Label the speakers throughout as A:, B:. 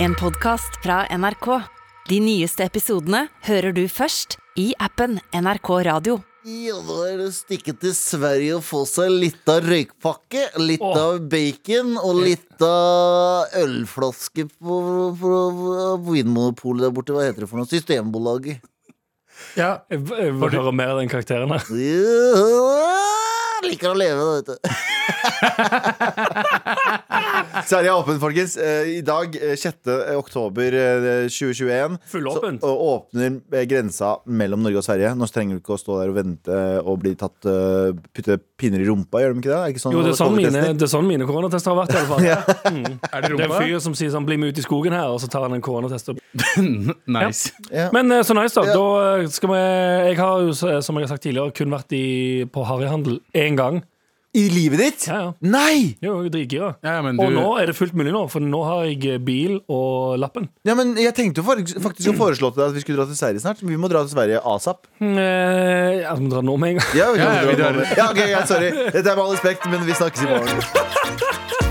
A: En podcast fra NRK. De nyeste episodene hører du først i appen NRK Radio.
B: Ja, da er det å stikke til Sverige og få seg litt av røykpakke, litt
C: Åh.
B: av bacon og litt av ølflaske på, på, på Vinmonopolet der borte. Hva heter det for noe? Systembolaget.
C: Ja, jeg v- jeg vil høre mer av den karakteren her.
B: Ja, liker å leve, da, vet du.
D: Sverige er åpen, folkens. Eh, I dag, eh, 6. oktober eh, 2021,
C: Fullåpent.
D: så å- åpner eh, grensa mellom Norge og Sverige. Nå trenger du ikke å stå der og vente og bli tatt eh, putte pinner i rumpa, gjør de ikke det? Er ikke sånn
C: Jo, det er sånn mine,
D: covid-tester?
C: det er sånn mine koronatester har vært. i alle fall
E: Er det
C: Det er en
E: rumpa?
C: fyr som sier sånn 'bli med ut i skogen her', og så tar han en koronatest. opp.
E: nice.
C: Men eh, så nice, da. da eh, skal vi, jeg har jo, s- som jeg har sagt tidligere, kun vært i, på harryhandel én gang.
D: I livet ditt?
C: Ja, ja.
D: Nei!
C: Jo, jeg er dritgira.
E: Ja, ja, men
C: Og
E: du-
C: nå er det fullt mulig, nå, for nå har jeg eh, bil og lappen.
D: Ja, men jeg tenkte jo for- faktisk å foreslå til deg at vi skulle dra til Sverige snart. Vi må dra til Sverige asap.
C: Eh, Jeg må dra nå med en gang.
D: Ja, vi kan
E: Ja, ja,
D: dra
E: vi drar.
D: nå med- ja, ok, ja, sorry. Dette er med all respekt, men vi snakkes i morgen.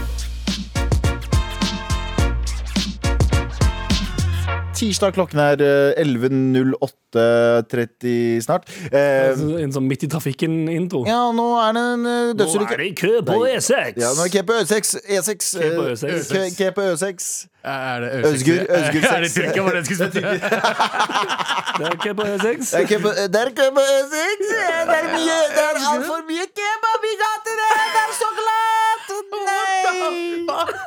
D: Tirsdag klokken er eh, 11.08.30 snart. Eh,
C: En sånn midt i trafikken-intro.
D: ja, nå er det en eh,
C: Nå er
D: dødsulykke.
C: det kø på E E6!
D: Ja, nå er det kø på Ø6. E6.
C: Kø på
D: eh,
C: Ø6.
D: kø- Kø på Ø6.
E: Er det
D: Øzgur- Øzgur
E: Er det
D: sex?
E: Tyrkia? Var det jeg skulle spørre?
C: Det er kø på
D: Det
C: E6.
D: er kø på eh,
B: Det er kø på Øsik! Det er mye, det er altfor mye kebab i gatene! Det er så glatt! Nei!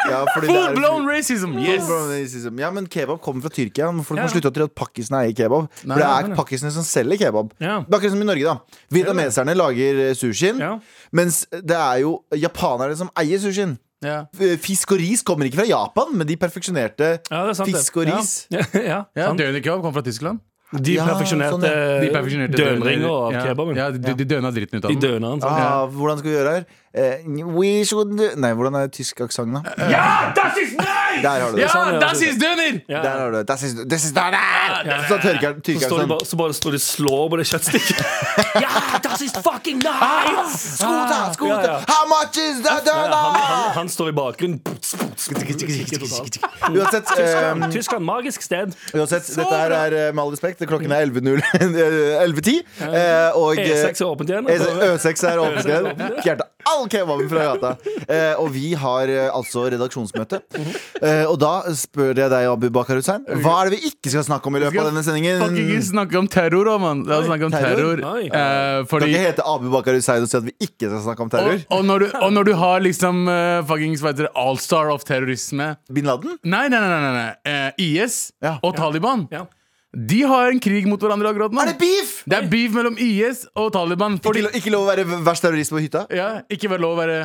D: ja, fordi det er-
E: Full blown racism! Yes!
D: Full-blown racism. Ja, men kebab kommer fra Tyrkia. men Folk
C: Ja.
D: må slutte å tro at pakkisene eier kebab.
E: Nei,
D: for det
E: nei,
D: er
C: nei.
D: pakkisene som selger kebab.
C: Ja.
D: Det er akkurat som i Norge, da. Vietnameserne lager eh, sushien,
C: Ja.
D: mens det er jo japanerne som eier sushien.
E: Ja.
D: F- Eh, Fisk og ris kommer ikke fra Japan, men de perfeksjonerte
C: Ja, det er sant, det.
D: fisk og
C: Ja.
D: ris.
C: Ja, ja,
E: Ja,
C: sant.
E: Døende kebab kom fra Tyskland.
C: De
D: Ja,
C: perfeksjonerte
D: sånn, ja.
E: De perfeksjonerte
C: dønringer av
E: ja.
C: kebaben.
E: Ja, de, de døna dritten ut av
C: De
E: den.
C: døner han sånn.
D: Ah, hvordan skal vi gjøre her? Eh, we should do- Nei, hvordan er tysk aksent, da?
C: Eh,
D: Der har du det.
E: Ja,
C: Sånn, ja,
E: das ist døner!
C: Ja.
D: Der har du det. This is, this is not it! Så tørker
C: Så,
D: tyrkeren
C: står de
D: sånn.
C: bare, så bare står de og slår på det kjøttstikket. ja, das ist fucking
E: Ah,
C: nice!
D: Skota, skota!
C: Ja, ja.
D: How much is that?
C: Ja, han, han, han står i bakgrunnen.
D: Uansett, eh,
C: Tyskland, magisk sted.
D: Uansett, dette her er eh, med all respekt, klokken er 11.00, eh, 11.10. eh, Og eh,
C: E6 E er åpent igjen.
D: Ø6 er åpent igjen. Fjerta all kebaben fra gata. Eh, og vi har eh, altså redaksjonsmøte. Eh, og da spør jeg deg, Abu Bakar Hussein, hva er det vi ikke skal snakke om i løpet av denne
E: Fuck, ikke
D: sendingen?
E: snakke om terror, da, mann. La oss snakke om
D: terror?
E: terror.
C: Oi.
E: Eh,
D: Kan
E: fordi
D: ikke hete Abu Bakar Hussein og si at vi ikke skal snakke om
E: og,
D: terror?
E: og, når du, og når du har liksom uh, fuckings hva heter det, allstar of terrorisme
D: Bin Laden?
E: Nei, nei, nei. nei, nei. Eh, IS
D: Ja.
E: og Taliban.
C: Ja.
E: De har en krig mot hverandre akkurat nå.
D: Er det beef?
E: Det er beef mellom IS og Taliban. Fordi,
D: Ikke, lo- ikke lov å være verst terrorist på hytta?
E: ja, ikke vær lov å være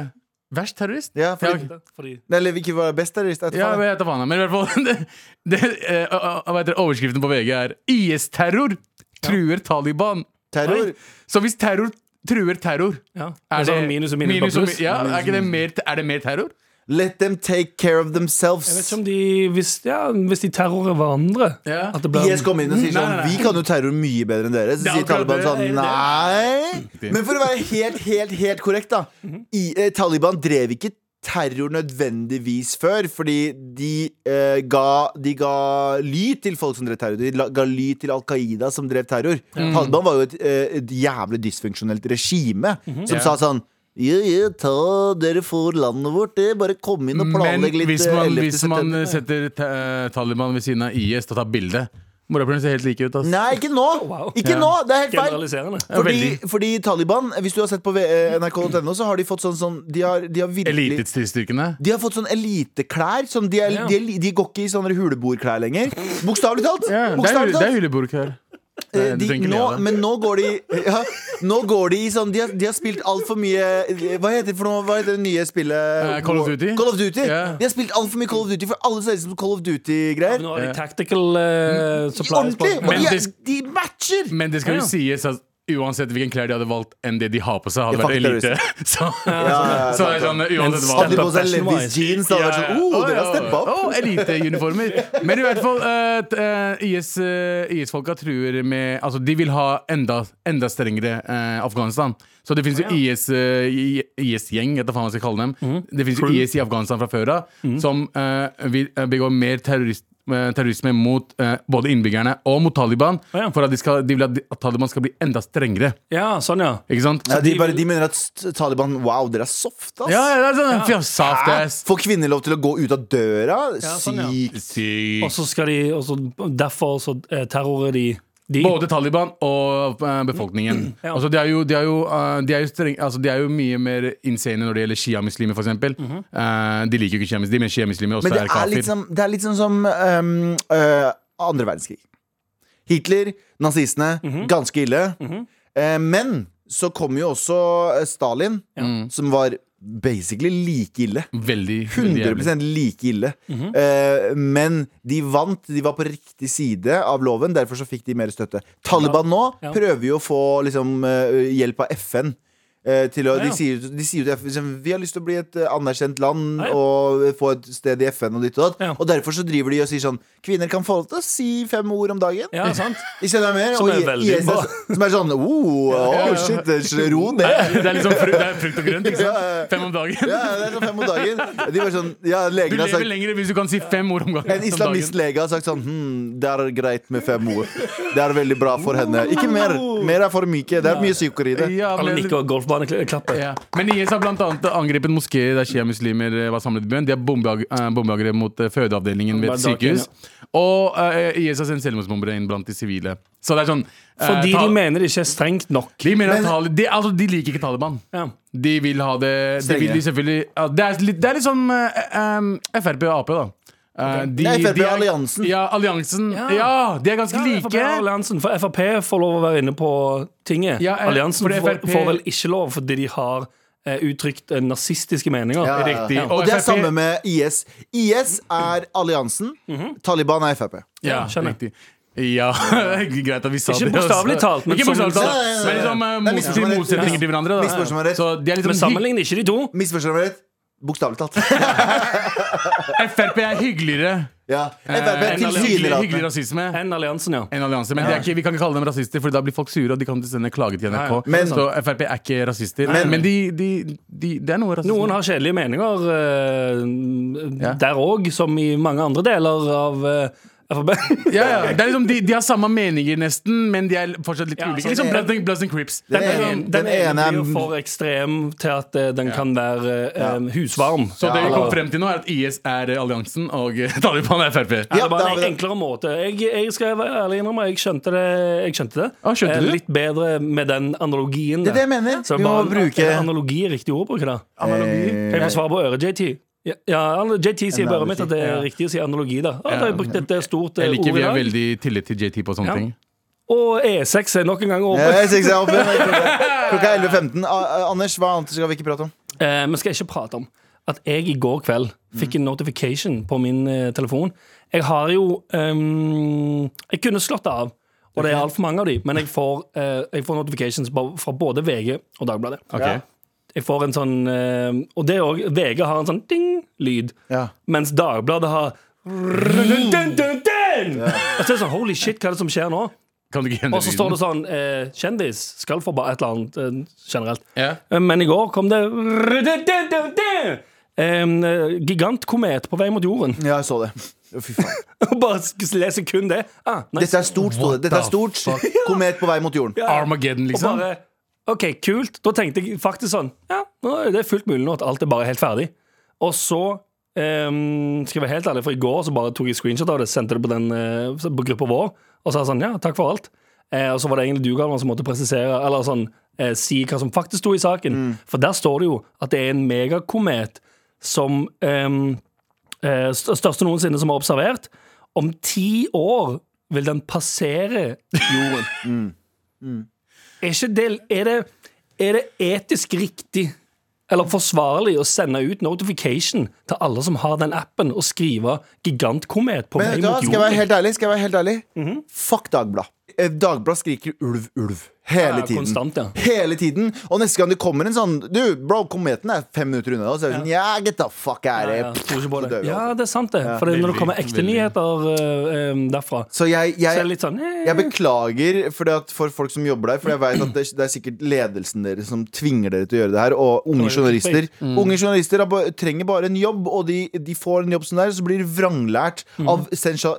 E: verst terrorist.
D: Ja, fordi,
E: Ja,
C: Fordi
D: Eller ikke være best terrorist? jeg vet
E: Ja,
D: faen.
E: jeg vet da faen, men i hvert fall det, det, eh, å- å- hva heter det, Overskriften på VG er IS-terror truer Taliban.
D: Terror?
E: Så hvis terror truer terror
C: ja. Er det minus og minus,
E: minus
C: på
E: og
C: pluss?
E: mi- ja, er, ikke det mer, er det mer terror?
D: Let them take care of
C: Jeg vet
D: themselves.
C: ikke om de Hvis, ja, hvis de terrorer hverandre
E: Ja.
C: at det blir-
D: IS kommer inn og sier
E: Nei,
D: sånn
E: nei, nei.
D: Vi kan jo terror mye bedre enn dere. Så
E: Det er
D: sier
E: akkurat
D: Taliban
E: det,
D: sånn
E: det Mm. er det.
D: nei. Men for å være helt, helt, helt korrekt, da.
E: Mhm.
D: I, eh, Taliban drev ikke terror nødvendigvis før, fordi de, eh, ga, de ga ly til folk som drev terror. De la, ga ly til Al Qaida som drev terror.
E: Mm.
D: Taliban var jo et, eh, et jævlig dysfunksjonelt regime som
E: Mhm. Ja.
D: sa sånn ja, ja, ta, dere får landet vårt. Det, bare kom inn og
E: Men
D: planlegg litt.
E: hvis
D: eh,
E: man,
D: 11.
E: hvis
D: september.»
E: man setter ta- eh, Taliban ved siden av IS og tar bilde Morapulerne ser helt like ut. ass.
D: Nei, ikke nå!
C: Wow.
D: Ikke
E: Ja.
D: nå, Det er helt feil!
C: Generaliserende.
E: Ja,
D: Fordi,
E: veldig.
D: fordi Taliban, hvis du har sett på V- eh, nrk.no, så har de fått sånn, sånn De har, de har virkelig
E: Elitestyrkene.
D: de har fått sånn eliteklær. Sånn, de, er,
C: Ja.
D: de, er- de går ikke i sånne huleboerklær lenger. Bokstavelig talt!
E: Ja, det er,
D: Bokstavelig
E: det er
D: talt.
E: huleburk her.
D: Eh,
E: du
D: de,
E: trenger ikke le
D: nå,
E: av det.
D: men nå går de ja, Nå går de i sånn De har, de har spilt altfor mye Hva heter, det for noe, hva heter det nye spillet?
E: Eh, Call of Duty.
D: Call of Duty.
E: Ja.
D: De har spilt altfor mye Call of Duty, for alle ser ut som Call of Duty-greier.
C: Nå har de tactical eh, supplies på
D: Ordentlig! Og
E: Men
D: de, er,
E: det-
D: de matcher!
E: Men det skal
C: Ja,
E: jo
C: ja.
E: sies at uansett hvilken klær de hadde valgt enn det de har på seg, hadde
D: Ja,
E: vært
D: fuck, det
E: elite.
D: er
E: Så,
D: ja,
E: så er det sånn,
C: Men
E: uansett hva
D: Hadde de på seg
C: Fashion
D: Levis
C: wise.
D: jeans, da hadde det vært sånn Oh, dere har steppa opp!
E: Oh, Eliteuniformer. Men i hvert fall, eh, t- eh, IS, eh, IS-folka truer med Altså, de vil ha enda, enda strengere eh, Afghanistan. Så det fins jo eh, IS-gjeng, IS -gjeng, vet da faen hva jeg skal kalle dem.
D: Mhm.
E: Det fins jo IS i Afghanistan fra før av, som eh, vil eh, begå mer terrorist eh, terrorisme mot eh, både innbyggerne og mot Taliban.
C: Å, ja.
E: For at de, skal, de vil at, de, at Taliban skal bli enda strengere.
C: Ja, sånn, ja.
E: Ikke sant?
D: Ja, de, bare, de mener at st- Taliban Wow, dere er soft, ass!
E: Ja, ja, det er sånn fja, Soft
D: Hæ?
E: ass.
D: Får kvinner lov til å gå ut av døra?
C: Ja, sånn, ja.
D: Sykt.
E: Sykt.
C: Og så skal de og så, Derfor så eh, terrorer de de.
E: Både Taliban og eh, befolkningen.
C: Ja.
E: Altså, de, er jo, de, er jo, eh, de, er jo streng, altså, de er jo mye mer insane når det gjelder shia-muslimer, f.eks. eksempel Eh, de liker jo ikke shia-muslimer, men shia-muslimer
D: Mhm.
E: også
D: Men det
E: Sånn er
D: er
E: kafir.
D: litt, som, det er litt sånn som ehm, øh, andre verdenskrig. Hitler, nazistene, ganske ille. Eh, men så kom jo også eh, Stalin, som var basically like ille.
E: Veldig, veldig jævlig.
D: 100 like ille.
C: Mhm.
D: Eh, men de vant, de var på riktig side av loven, derfor så fikk de mer støtte. Taliban nå
C: Ja.
D: prøver jo å få liksom, eh, hjelp av FN. eh, Til å, de,
C: Ja, ja.
D: sier, de sier jo til FN liksom, Vi har lyst til å bli et eh, anerkjent land
C: Ja, ja.
D: og få et sted i FN. Og, ditt og, datt.
C: Ja.
D: og derfor så driver de og sier sånn Kvinner kan få lov til å si fem ord om dagen.
C: Ja, sant?
D: Ikke sant, det er mer,
C: Som er
D: og I-
C: veldig
D: IS
C: bra.
D: som er sånn Oh,
E: ja,
D: oh
E: ja.
D: shit, det- ro ned.
E: Det er liksom fru, det er frukt og grønt. Ikke sant?
D: Ja, ja.
E: Fem om dagen.
D: Ja, det er sånn fem om dagen. De var sånn Ja,
E: Du
D: legen har
E: lever
D: sagt
E: lenger hvis du kan si fem ord om gangen.
D: En islamistlege har sagt sånn hm, Det er greit med fem ord. Det er veldig bra for henne. Ikke mer. Mer er for myke. Det er mye psyker i det.
E: Ja,
C: Alle
E: men,
C: nikker og golfbaneklapper.
E: ja. men IS har blant annet angrepet en moské der shia-muslimer eh, var samlet i byen. De har bombeag- eh, bombeangrep mot eh, fødeavdelingen ved et
C: Bare dagen,
E: sykehus. Og eh, IS har sendt selvmordsbombere inn blant de sivile. Så det er sånn eh,
C: Fordi
E: ta-
C: de mener det ikke er strengt nok.
E: De, mener at Tali- de, altså, de liker ikke Taliban.
C: Ja.
E: De vil ha det de vil de selvfølgelig, ja, det, er litt, det er litt som eh, em, Frp og Ap, da. Eh, de-
D: Nei, FrP
E: de er-
D: alliansen.
E: Ja, alliansen.
C: Ja.
E: Ja, de er ganske
C: Ja, FrP er
E: like.
C: alliansen, for Frp får lov å være inne på tinget.
E: Ja, eh,
C: alliansen
E: fordi
C: får,
E: FrP
C: får vel ikke lov fordi de har eh, uttrykt eh, nazistiske meninger.
D: Ja, ja.
E: Riktig.
D: Og det er samme med IS. IS er alliansen.
E: Mhm.
D: Taliban er Frp.
E: Ja,
C: Ja, skjønner.
E: riktig. Ja, greit at vi sa
C: Ikke
E: det. også.
C: bokstavelig talt, men som-
E: Ikke bokstavelig
D: Ja, ja, ja, ja.
E: talt.
D: Det er
E: Men liksom eh, mot,
D: misforståelse.
E: til motsetninger til hverandre.
D: Misforståelse
E: Da.
D: rett.
E: Så de er
C: Men
E: liksom hygg-
C: sammenlign ikke de to.
D: Misforstår meg rett? Bokstavelig talt.
E: Frp er hyggeligere
D: Ja.
E: eh,
D: Frp
E: enn hyggelig, hyggelig
D: tilsynelatende.
E: rasisme.
C: Enn alliansen, ja.
E: En allianse, men det er ikke, vi kan ikke kalle dem rasister, for da blir folk sure. Og de kan sende klage til NRK
C: Nei,
D: men-
E: Så Frp er ikke rasister. Men, de, de, de, det er noe rasisme.
C: Noen har kjedelige meninger eh, der òg, som i mange andre deler av eh, Frp.
E: ja, ja. Det er liksom, de, de har samme meninger, nesten, men de er fortsatt litt
C: Ja,
E: ulike.
C: sånn
E: Liksom
C: er-
E: Bloods and- Bloods and Crips.
D: Den
C: Den,
D: ene- den
C: ene- den ene
D: ene
C: blir
D: er-
C: jo for ekstrem til at eh, den kan være eh, husvarm.
E: Så det vi
D: Ja, da.
E: kom frem til nå, er at IS er eh, alliansen, og eh, Taliban er Frp.
C: Ja,
D: Ja,
C: det var
D: da har
C: en
D: vi det.
C: enklere måte. Jeg, jeg skal være ærlig innrømme, jeg skjønte det. Jeg skjønte det.
E: Ah, skjønte
C: Eh,
E: du det?
C: Litt bedre med den analogien.
D: Det er det jeg mener.
C: Så
D: Vi må
C: bare-
D: bruke-
C: er Analogi er riktig ord å bruke, da. Kan jeg få svar på øret, JT? Ja, Ja, alle- JT sier bare
D: Analogi,
C: mitt at det er
E: ja.
C: riktig å si analogi, da. Ja, da har jeg brukt et eh, stort eh,
E: Jeg liker
C: ord i
E: vi har
C: dag.
E: veldig tillit til JT på sånne
C: Ja.
E: ting.
C: Og E6 er nok en gang over.
D: Ja, Eh, jeg synes jeg er oppe. Klokka er 11.15. A- Anders, hva annet skal vi ikke prate om?
C: Eh, men skal jeg ikke prate om at jeg i går kveld fikk en notification på min eh, telefon. Jeg har jo ehm, Jeg kunne slått det av, og det er altfor mange av de, men jeg får, eh, jeg får notifications ba- fra både VG og Dagbladet.
E: Ok.
C: Jeg får en sånn eh, Og det òg. VG har en sånn ding-lyd,
D: Ja.
C: mens Dagbladet har
D: Mm.
C: Dun, dun, dun, dun! Og så er det sånn, Holy shit, hva er det som skjer nå?
E: Kan du ikke
C: Og
E: hende
C: så står det sånn eh, Kjendis skal få ba- et eller annet eh, generelt.
E: Ja.
C: Eh, Men i går kom det En eh, gigantkomet på vei mot jorden.
D: Ja, jeg så det. Å, Fy faen.
C: Og Bare sk- leser kun det. Ah, nice.
D: Dette er stort, sto det. Dette er stort. Komet på vei mot jorden.
E: Armageddon,
C: Og
E: liksom.
C: bare OK, kult. Da tenkte jeg faktisk sånn Ja, nå er det fullt mulig nå at alt er bare helt ferdig. Og så ehm, skal jeg være helt ærlig, for i går så bare tok jeg screenshot av det, sendte det på, den, eh, på gruppa vår, og sa sånn Ja, takk for alt. Eh, og så var det egentlig du, Galvan, som måtte presisere Eller sånn eh, si hva som faktisk sto i saken. For der står det jo at det er en megakomet som ehm, eh, st- Største noensinne som er observert. Om ti år vil den passere jorden.
D: Mm.
C: Er, ikke det, er, det, er det etisk riktig eller forsvarlig å sende ut notification til alle som har den appen, og skrive 'gigantkomet' på
D: Men
C: vei
D: vet du hva,
C: mot Mhm.
D: skal jeg være
C: jorden?
D: helt ærlig? Skal jeg være helt ærlig? Fuck Dagblad. Eh, Dagblad skriker ulv, ulv Hele
C: Ja,
D: tiden.
C: konstant, ja.
D: Hele tiden. Og neste gang det kommer en sånn Du, bro, kometen er fem minutter unna. Og så er det sånn Ja, get the fuck out
C: Ja,
D: of
C: tror ikke på det.
D: here.
C: ja, det er sant, det. For når det
E: Veldig,
C: kommer ekte
E: veldig.
C: nyheter eh, eh, derfra,
D: Så jeg,
C: så er det
D: jeg,
C: litt sånn eh,
D: jeg beklager for, det at for folk som jobber der, for jeg vet at det, det er sikkert ledelsen deres som tvinger dere til å gjøre det her. Og unge journalister
C: Mm.
D: Unge journalister har, ba- trenger bare en jobb, og de, de får en jobb som det er, og så blir de vranglært
C: Mm.
D: av sensa,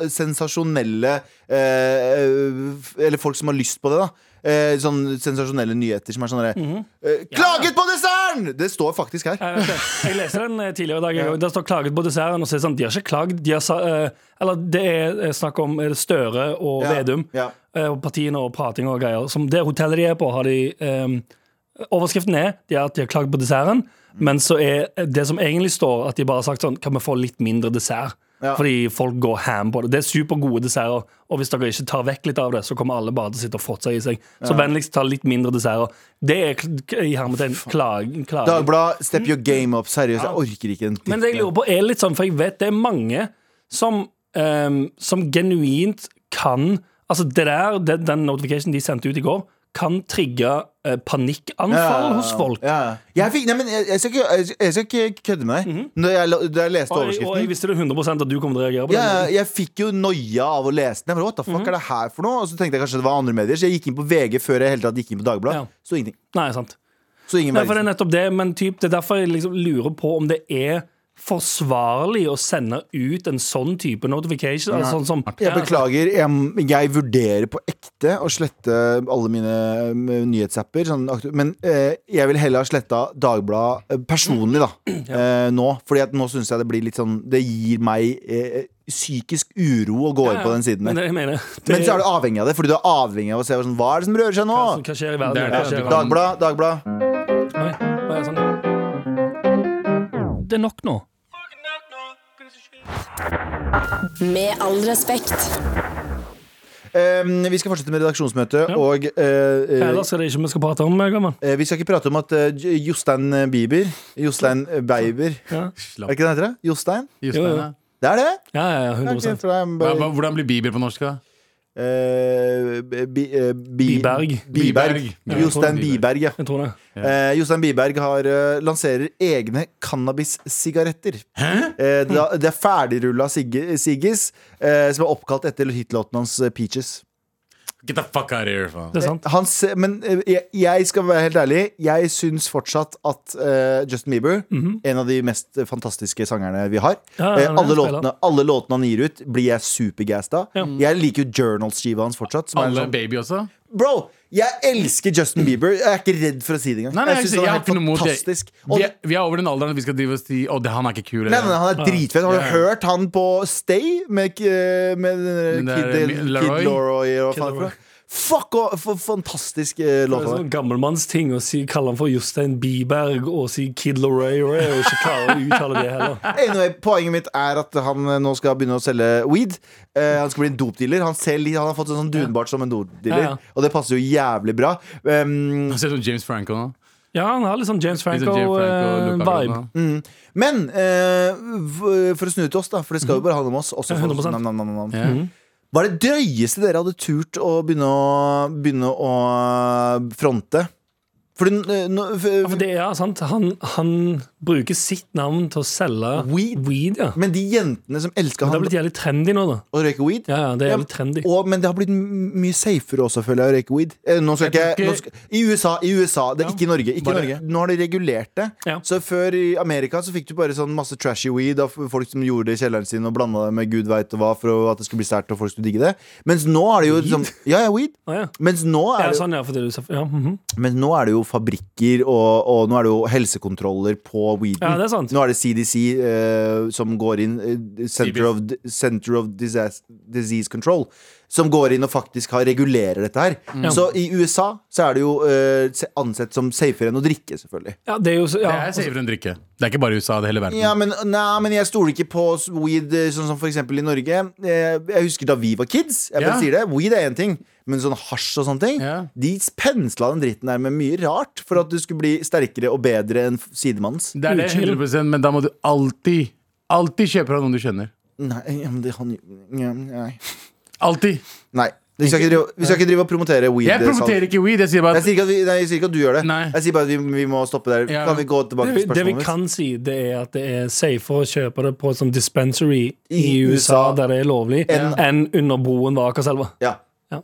D: sensasjonelle eh, f- Eller folk som har lyst på det, da. Eh, sånn sensasjonelle nyheter som er sånn derre
C: Mhm.
D: eh, Klaget på desserten! Det står faktisk her.
C: Jeg, vet det. jeg leser den eh, tidligere i dag. jeg også. Der står 'klaget på desserten'. Og så er det sånn, de har ikke klagd. De har sa, eh, eller det er eh, snakk om eh, Støre og
D: Ja,
C: Vedum.
D: ja.
C: eh, og partiene og prating og greier. Som det hotellet de er på, har de eh, Overskriften er de har- at de har klaget på desserten,
D: Mm.
C: men så er eh, det som egentlig står, at de bare har sagt sånn Kan vi få litt mindre dessert?
D: Ja.
C: Fordi folk går ham på det. Det er supergode desserter. Og hvis dere ikke tar vekk litt av det, så kommer alle bare til å sitte og fråtse i seg. Så vennligst ta litt mindre desserter. Det er kl- k- i hermetegn klag, klage.
D: Dagbladet, step your game up. Seriøst, jeg orker ikke en
C: Mm. Men det jeg lurer på er litt sånn, for jeg vet det er mange som, ehm, som genuint kan Altså det der, den, den notificationen de sendte ut i går, kan trigge eh, panikkanfall hos folk.
D: Ja. Jeg, fikk, nei, men jeg, jeg, skal ikke, jeg, skal- jeg skal ikke kødde med deg. Når jeg, lo- da jeg leste
C: Mhm. Og, jeg- og jeg
D: overskriften
C: visste det 100 at du kom til å reagere på
D: ja,
C: det.
D: jeg, jeg fikk jo noia av å lese den. Jeg bare, What the fuck
C: Mhm.
D: er det her for noe? Og så tenkte jeg kanskje det var andre medier, så jeg gikk inn på VG før jeg helt tatt gikk inn på Dagbladet.
C: Ja.
D: Så ingenting.
C: Nei, sant.
D: Så ingen
C: Nei, for det
D: verden.
C: er nettopp det, men typ, det er derfor jeg liksom lurer på om det er forsvarlig å sende ut en sånn type notification. Altså, sånn som,
D: Jeg beklager, jeg, jeg vurderer på ekte å slette alle mine mm, nyhetsapper. Sånn, aktu- men eh, jeg vil heller ha sletta Dagbladet eh, personlig, da. Eh, nå. Fordi at nå syns jeg det blir litt sånn Det gir meg eh, psykisk uro å gå inn på den siden. der.
C: Men det, jeg mener, det, altså,
D: Men så er du avhengig av det, fordi du er avhengig av å se hva som- hva er det som rører seg
C: hva
D: nå.
C: skjer i
E: Det
C: verden.
E: er
C: Hva
E: det.
C: skjer i verden?
D: Dagblad, Dagblad.
C: Oi, hva er det sånn? Det er nok nå.
A: Med all respekt.
D: Ehm, vi skal fortsette med redaksjonsmøtet, og eh, eh,
C: Ellers er det ikke vi skal prate om, gammel.
D: eh, vi skal ikke prate om at eh, J- Jostein Bieber Jostein Beiber
C: Ja,
D: Er det ikke det han heter? det? Jostein?
E: Just
C: Jo, jo.
E: den, ja.
D: Det er det?
C: ja, ja
D: Ja, ok,
C: 100
D: for det er en
E: Hva-
D: bare-
E: hva- Hvordan blir Bieber på norsk, da?
D: eh, Bi- eh, Bi-
C: Biberg.
D: Biberg.
E: Biberg. Ja,
D: Jostein
E: Biberg.
D: Biberg, ja.
C: Jeg tror det.
D: Eh, Jostein Biberg har, eh, lanserer egne cannabissigaretter. Eh, det er- det er ferdigrulla sigge- sigges, eh, som er oppkalt etter hitlåten hans eh, Peaches.
E: Get the fuck out of here, faen.
C: Det er sant.
D: Han se, men eh, jeg, jeg skal være helt ærlig. Jeg syns fortsatt at eh, Justin Bieber,
E: Mhm.
D: en av de mest fantastiske sangerne vi har
C: Ja, ja,
D: eh,
C: han er
D: alle,
C: en spiller.
D: låtene, alle låtene han gir ut, blir jeg supergassed av. Jeg liker jo Journals-skiva hans fortsatt. Som er en
E: Alle
D: sånn,
E: baby også?
D: bro, jeg elsker Justin Bieber. Jeg er ikke redd for å si det engang.
E: Nei, nei, jeg,
D: jeg
E: jeg,
D: syns
E: har
D: han
E: ikke noe
D: er
E: mot
D: helt
E: det.
D: fantastisk. Og,
E: Vi er, vi er over den alderen at vi skal drive og si 'Å, det, han er ikke kul'.
D: nei, nei, nei,
E: eller?
D: han er dritfett. Har du
E: Ja.
D: hørt han på Stay med, eh, med den
E: Den
D: der
E: der,
D: Kid,
E: eh,
D: Kid
E: Leroy?
D: Leroy? og hva faen er det
C: Kid
D: for
C: Leroy.
D: noe? Fuck, og, for, fantastisk eh,
C: Det
D: låt.
C: er
D: av det.
C: sånn gammelmannsting å si, kalle han for Jostein Biberg og si Kid Loray Ray og ikke klare å uttale det heller.
D: Anyway, poenget mitt er at han eh, nå skal begynne å selge weed. Eh, han skal bli en dopdealer. Han, ser litt- han har fått en sånn dunbart som en dopdealer,
C: Ja, ja.
D: og det passer jo jævlig bra. Um,
E: Han ser ut som James Franco nå.
C: Ja, han har litt sånn James eh,
E: Litt sånn James Franco,
C: Franco-vibe.
E: Luca Guadagnino.
D: men eh, v- for å snu til oss, da, for det
C: Mhm.
D: skal jo bare handle om oss. Også for,
C: 100%.
D: nam, nam, nam, nam.
E: Ja.
D: Hva er det drøyeste dere hadde turt å begynne å, begynne å eh, fronte? For, den, eh, nå-
C: ja, for det er sant. Han, han bruker sitt navn til å selge
D: Weed.
C: ja.
D: men de jentene som elsker
C: Det har
D: han
C: blitt jævlig trendy nå, da.
D: å røyke weed,
C: Ja, ja, det er
D: Ja,
C: jævlig trendy.
D: Og, men det har blitt m- mye safere også, føler jeg, å røyke weed. Eh, Nå skal ikke,
E: Jeg tenker-
D: nå skal, I USA, i USA det er ikke i Norge. Ikke i
E: bare-
D: Norge. Nå har de regulert det.
C: Ja.
D: Så før i Amerika så fikk du bare sånn masse trashy weed av folk som gjorde det i kjelleren sin og blanda det med gud veit hva for å- at det skulle bli sterkt og folk skulle digge det. Mens nå er det jo liksom Ja, ja, weed.
C: Ah, ja.
D: Mens nå
C: Ja,
D: er det,
C: sånn, ja, for det, er jo- ja, mhm.
D: mens nå er det jo fabrikker og, og nå er det jo helsekontroller på weeden.
C: ja, det er sant.
D: Nå er det CDC eh, som går inn eh, Center, of, Center of Disease, Disease Control Som går inn og faktisk har regulerer dette her
C: Mm.
D: Så i USA så er det jo eh, se- ansett som safere enn å drikke selvfølgelig
C: Ja, det er jo så-
E: Det
C: ja,
E: er safere enn drikke. Det er ikke bare i USA, det er hele verden.
D: ja, men, nei, men jeg stoler ikke på s- weed eh, Sånn som for eksempel i Norge eh, Jeg husker da vi var kids Jeg bare
E: Ja.
D: sier det, weed er en ting Men sånn hasj og sånne ting
E: Ja.
D: De pensla den dritten her med mye rart For at du skulle bli sterkere og bedre enn f- sidemannens
E: Det er det 100 men da må du alltid Alltid kjøpe fra noen du kjenner.
D: Nei, ja, men det han ja, Nei
E: Alltid!
D: Nei. Vi skal ikke drive, vi skal ikke drive og promotere weed. eh,
E: Jeg promoterer ikke weed. Jeg sier bare
D: Jeg
E: at
D: sier ikke at, vi, nei, jeg sier ikke at du gjør det.
E: Nei.
D: Jeg sier bare at vi, vi må stoppe der.
E: Ja.
D: Kan vi gå tilbake
C: Det,
D: til
C: vi- det vi
D: spørsmålet mitt?
C: kan si, det er at det er safer å kjøpe det på som dispensary i
D: I
C: USA,
D: USA.
C: der det er lovlig,
D: Enn-
C: enn under broen ved Akerselva.
D: Ja.
E: ja,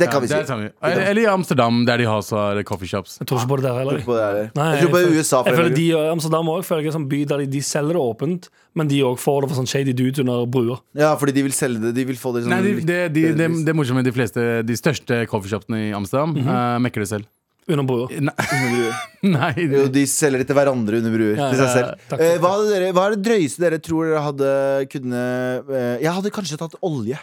D: det kan
E: ja,
D: vi si.
E: er samme. Eller, eller i Amsterdam, der de har så coffee shops.
C: Jeg tror ikke på det der heller.
D: På det der.
C: Nei,
D: jeg tror på
C: føler-
D: USA. for
C: jeg føler
D: eksempel.
C: de gjør Amsterdam òg. Føler jeg er en sånn by der de, de selger det åpent, men de òg får det for sånn shady dudes under bruer.
D: Ja, fordi de vil selge det. De vil få det sånn
E: Nei, de,
D: litt
E: de, de,
D: bedre
E: de,
D: pris.
E: det er morsomt med de fleste De største coffeeshopene i Amsterdam eh, mekker det selv.
C: Under bruer.
E: Nei,
D: Under bruer.
E: nei
D: Jo,
E: det-
D: de selger det til hverandre under bruer.
C: Ja,
D: til seg
C: ja,
D: selv.
C: takk, takk,
D: Eh, hva, hadde dere, hva er det drøyeste dere tror dere hadde kunne eh, Jeg hadde kanskje tatt olje.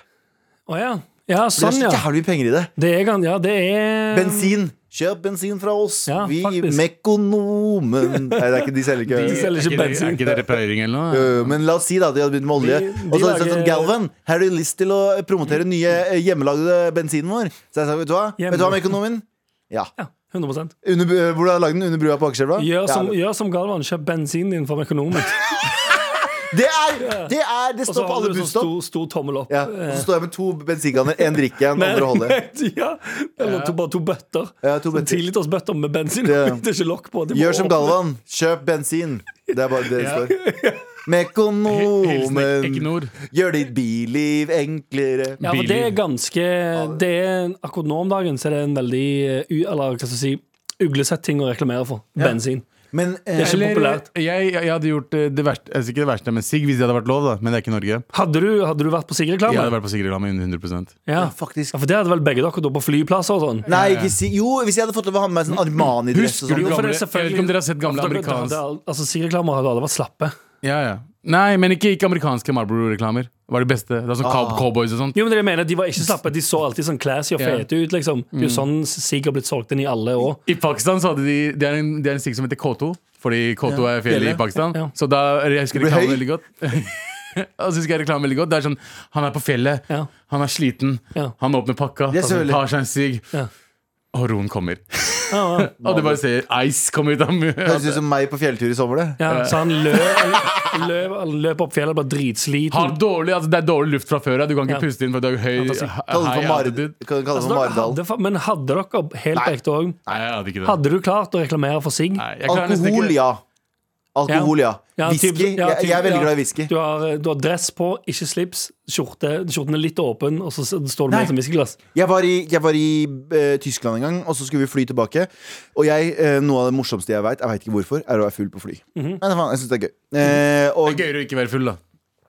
C: Å ja. Ja,
D: For
C: sånn,
D: Det er så
C: ja.
D: jævlig mye penger i det.
C: Det er gan- Ja, det er
D: Bensin. Kjøp bensin fra oss.
C: Ja,
D: vi
C: faktisk.
D: Mekonomen Nei, det er ikke, de selger ikke
C: De selger ikke
E: Er ikke det- er
C: bensin.
E: ikke det reparering eller noe?
D: Øh, Men la oss si da at de hadde begynt med olje.
C: De- de
D: og så hadde de sagt
C: lager-
D: sånn Galvan, har du lyst til å promotere nye eh, hjemmelagde bensinen vår? Så jeg sa, vet du hva, vet du hva mekonomen? Ja.
C: Ja, 100
D: Under, øh, hvor du har lagd den? Under brua på Akerselva?
C: Gjør som,
D: Ja.
C: gjør som Galvan, kjøp bensin din for økonomen.
D: Det er Det, er, det
C: Og så
D: står på
C: har
D: alle
C: du sånn
D: busstopp.
C: stor, stor tommel opp. Eh,
D: Ja. Og så står jeg med to bensinkanner. Én drikker jeg, den andre holder jeg.
C: ja, eller to, bare to bøtter.
D: Ja, to bøtter.
C: liters bøtter med bensin.
D: Ja.
C: Det er ikke lokk på. det må
D: Gjør som
C: åpne.
D: Galvan. Kjøp bensin. Det er bare det det står.
E: Hilsen
D: Mekonomen.
E: Equinor.
D: Gjør ditt billiv enklere.
C: Ja, for det er ganske det er, Akkurat nå om dagen så er det en veldig eh, u, Eller hva skal jeg si uglesett ting å reklamere for. Bensin.
D: Men eh,
C: Det er ikke populært.
E: Jeg, jeg hadde gjort eh, det verste, altså ikke det verste, men sigg hvis det hadde vært lov, da. Men det er ikke i Norge.
C: Hadde du, hadde du vært på
E: Jeg
C: Sigrid-reklame?
E: hadde vært på sigg-reklame 100
C: Ja.
D: ja, faktisk
C: ja, for det hadde vel begge dere da på flyplasser og sånn?
D: Nei, ikke si Jo, hvis jeg hadde fått lov å ha med meg sånn Armani-dress og
E: Husker
D: sånn.
E: du-
C: Jo, for det er
E: Gamle- jeg vet ikke
C: selvfølgelig-
E: om dere har sett gamle
C: Altså, dere-
E: amerikansk-
C: det er- Altså, Sigrid-reklamer hadde alle vært slappe.
E: Ja, ja. Nei, men ikke, ikke amerikanske Marlboro-reklamer. Var de beste. Det var sånn cow- Cowboys og sånt.
C: Jo, men det jeg mener, De var ikke slappe. De så alltid sånn classy og
E: Ja.
C: fete ut. liksom Det er jo sånn Sig har blitt solgt inn i alle år.
E: I Pakistan så hadde de Det er en, det er en sigg som heter K2, fordi K2 er fjellet i Pakistan.
C: Ja.
E: Så da jeg husker
D: Du blir
E: reklamen
D: høy.
E: veldig godt. Og så husker jeg reklamen veldig godt. Det er sånn Han er på fjellet.
C: Ja.
E: Han er sliten.
C: Ja.
E: Han åpner pakka,
D: Det er så veldig-
E: tar seg en sigg,
C: Ja.
E: og roen kommer.
C: Ja, ja.
E: Og du bare ser ice komme ut av
D: Høres
E: munnen.
D: ut som meg på fjelltur i sommer, det.
C: Ja, så han løp, løp, løp opp fjellet og ble
E: Har
C: dritsliten.
E: dårlig, altså Det er dårlig luft fra før av. Du kan
C: Ja.
E: ikke puste inn, for du er høy.
C: da sier-
D: Kaller det
E: high
D: for Mar-
E: altitude.
D: Kan du kalle det
C: Altså,
D: for
C: dere
D: Maridalen.
C: hadde, fa- men hadde dere helt på ekte òg
E: Nei, jeg hadde ikke det.
C: Hadde du klart å reklamere for Sig?
E: Nei, jeg klarer nesten ikke-
D: Alkohol, ja. Alkohol, ja.
C: Ja,
D: Whisky.
C: typ- ja,
D: Jeg-
C: typ-
D: Jeg er veldig
C: ja.
D: glad i whisky.
C: Du har, eh, du har dress på, ikke slips, skjorte, skjorten er litt åpen, og så s- står du med som whiskyglass.
D: Jeg var i, jeg var i eh, Tyskland en gang, og så skulle vi fly tilbake. Og jeg, eh, noe av det morsomste jeg veit, jeg veit ikke hvorfor, er å være full på fly. Nei, faen, jeg syns det er gøy. Eh, og,
E: Det er gøyere å ikke være full, da.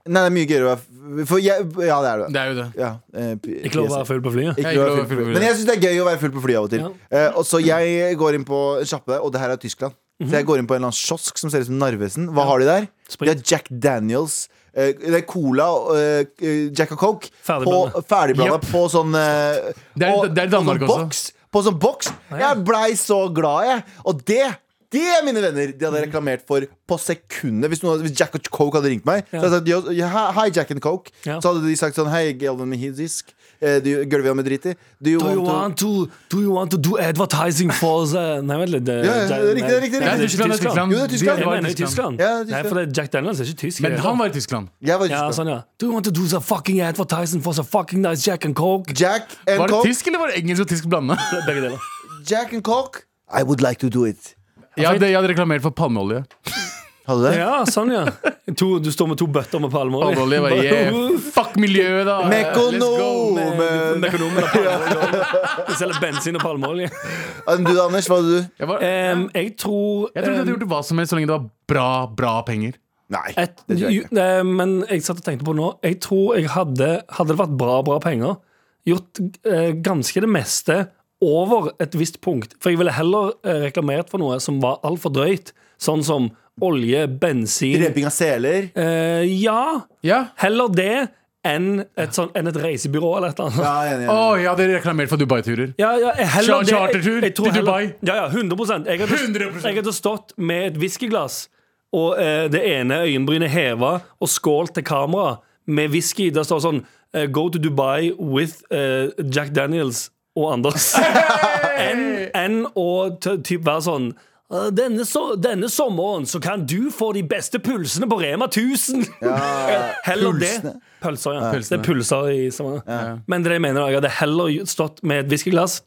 D: Nei, det er mye gøyere å være f- For jeg Ja, det er det.
E: Det er jo det.
D: Ja, eh, p-
C: Ikke lov å være full på flyet.
D: Ikke
E: Jeg
D: lov å
E: ikke
D: være full på
E: lov å
D: fly. Men jeg syns det er gøy å være full på fly av og til. Eh, og så jeg går inn på en sjappe, og det her er Tyskland. Så jeg går inn på en eller annen kiosk som ser ut som Narvesen. Hva har de der?
C: Sprit.
D: De har Jack Daniels. eh, det er cola, og, eh, eh, Jack og Coke.
C: Ferdigblanda.
D: På, ferdigblanda på sånn eh,
E: Det er-
D: og-
E: det er i Danmark
D: på sånn
E: også.
D: Boks, på sånn boks. Jeg blei så glad, jeg. Og det det, mine venner, de hadde reklamert for på sekundet. Hvis, noen, hvis Jack og Coke hadde ringt meg, Så hadde jeg sagt «Yo, hi- Hei, Jack and Coke.
C: Ja.
D: Så hadde de sagt sånn Hei, Galvan Mihidzisk. Eh, do you- Gulvet med dritt i. Do you
C: Do you,
D: want to
C: want to, do you want to do advertising for the Nei, vent litt. eh, det-
D: Ja, ja, det er riktig, det er riktig,
E: Nei,
D: det er
E: Tyskland, det er Tyskland.
D: Jo, det er Tyskland.
E: De
C: Jeg
E: var i
C: mener jo Tyskland.
D: Ja, det er
C: Nei, for det, Jack Daniels er ikke tysk.
E: Men han var i Tyskland.
D: Jeg var i
C: ja,
D: Tyskland.
C: sånn, ja. Do you want to do the fucking advertising for the fucking nice Jack and Coke?
D: Jack and
E: Var det
D: Coke.
E: tysk eller var det engelsk og tysk blanda?
C: Begge deler.
D: Jack and Coke. I would like to do it.
E: Jeg
C: altså-
E: hadde, jeg hadde reklamert for palmeolje.
D: Hadde du det?
C: Ja, sånn, ja. To, du står med to bøtter med palmer.
E: Palmeolje var yeah. Fuck miljøet, da!
D: Mekonom!
C: Med- med økonomen og palmeolje. De selger bensin og palmeolje.
D: Men Du, Anders, hva hadde du?
E: Jeg, var, jeg
C: Em, jeg tror
E: trodde jeg hadde gjort hva som helst så lenge det var bra, bra penger.
D: Nei.
C: Et,
D: det tror jeg
C: ju- eh, men jeg satt og tenkte på nå Jeg tror jeg hadde, hadde det vært bra, bra penger Gjort eh, ganske det meste Over et visst punkt For jeg ville heller eh, reklamert for noe Som var alt for drøyt Sånn som olje, bensin
D: Dreping av seler.
C: eh, Ja,
E: Ja
C: heller det Enn et, sånn, enn et reisebyrå eller et eller annet
D: Ja, enig, enig.
E: Å, jeg hadde reklamert for Dubai-turer.
C: ja, ja, heller
E: Char-
C: det- jeg-
E: chartertur
C: jeg tror
E: til
C: heller-
E: Dubai.
C: Ja, ja, 100 Jeg hadde,
E: 100%.
C: Jeg hadde stått med et whiskyglass og eh, det ene øyenbrynet heva og skålt til kamera med whisky. Der står sånn eh, Go to Dubai with eh, Jack Daniels og Anders. Enn enn å t- typ være sånn eh, denne, so denne sommeren så kan du få de beste pulsene på Rema 1000! heller det.
B: pulsene.
C: Pølser, ja.
E: Pølsene.
C: Det er pulser i Stavanger. Men det jeg mener, jeg hadde heller stått med et whiskyglass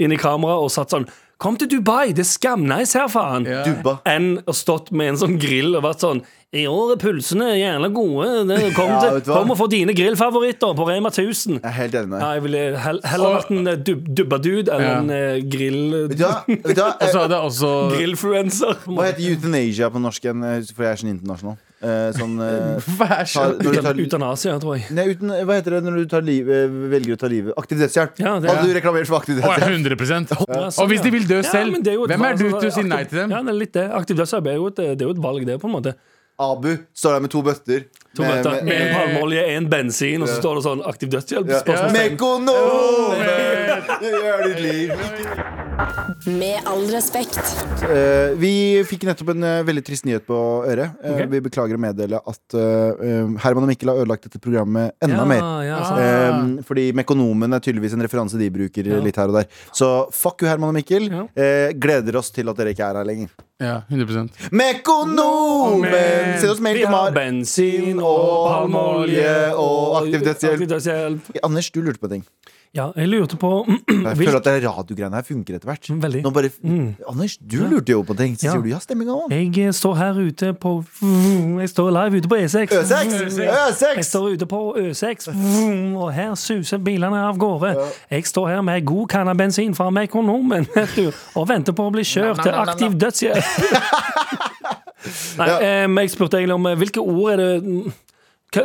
C: inn i kameraet og satt sånn Kom til Dubai, det er skamnice her, faen!
E: Ja.
D: Dubba.
C: Enn å stått med en sånn grill og vært sånn I år er pulsene jævla gode. Det- Kom,
D: Ja,
C: til,
D: vet du hva?
C: kom og få dine grillfavoritter på Rema 1000.
D: Jeg er helt enig med
C: Ja,
D: deg.
C: jeg ville hell, heller vært en eh, dub, dubbadude eller
E: Ja.
C: en eh, grill...
D: Vet du hva? Vet du hva?
E: Og
D: Eh,
C: Altså-
E: så er det også
C: Grillfluencer.
D: Hva heter euthanasia på norsk igjen? Jeg husker- For jeg er sånn internasjonal. Eh, Sånn eh,
E: Vær så
D: ta- når du tar-
C: Utanasia, tror jeg.
D: Nei, uten, hva heter det når du tar liv, eh, velger å ta livet? Aktivitetshjelp.
C: Ja, det er-
D: Hadde du reklamert for
E: Å, ja,
D: aktivitetshjelp?
E: 100
C: Ja, sånn,
E: Og hvis de vil dø
C: ja. Ja,
E: selv,
C: men det jo et
E: hvem er
C: valg,
E: du
C: altså.
E: til å si nei til dem?
C: Ja, det er litt det. Aktivt dødshjelp er, jo et- det er jo et valg, det, på en måte.
D: Abu står der med to bøtter.
C: To bøtter.
D: med,
C: Én palmeolje, én bensin, og så står det sånn aktiv dødshjelp?
D: med,
C: Spørsmålstegn.
D: Mekonomer! Gjør ditt liv.
A: Med all respekt.
D: Eh, vi fikk nettopp en eh, veldig trist nyhet på øret. Eh,
C: Ok.
D: Vi beklager å meddele at eh, eh, Herman og Mikkel har ødelagt dette programmet enda
C: Ja,
D: mer.
C: ja,
E: Ah.
C: sant.
D: Eh, fordi Mekonomen er tydeligvis en referanse de bruker eh, litt her og der. Så fuck you, Herman og Mikkel.
C: Ja.
D: Eh, gleder oss til at dere ikke er her lenger.
E: Ja, 100
D: Mekonomen! Send oss mail
C: Eh, Vi
D: til
C: har
D: Mar.
C: bensin og palmeolje
D: og aktiv dødshjelp.
C: Aktiv dødshjelp.
D: Anders, du lurte på en ting.
C: Ja, jeg lurte på
D: Jeg
C: Vil-
D: føler at det radiogreiene her funker etter hvert.
C: Mm, veldig.
D: Nå bare, Anders, du lurte jo på en ting. Så
C: Ja.
D: sier du ja, stemminga òg.
C: Jeg eh, står her ute på Jeg står live ute på E E6.
D: E Ø6!
C: Jeg
D: Ø6!
C: står ute på Ø6, vroom, og her suser bilene av gårde. Jeg står her med god kanne bensin fra Mekonomen vet du, og venter på å bli kjørt til aktiv dødshjelp. Nei, eh, men jeg spurte egentlig om eh, hvilke ord er det hva,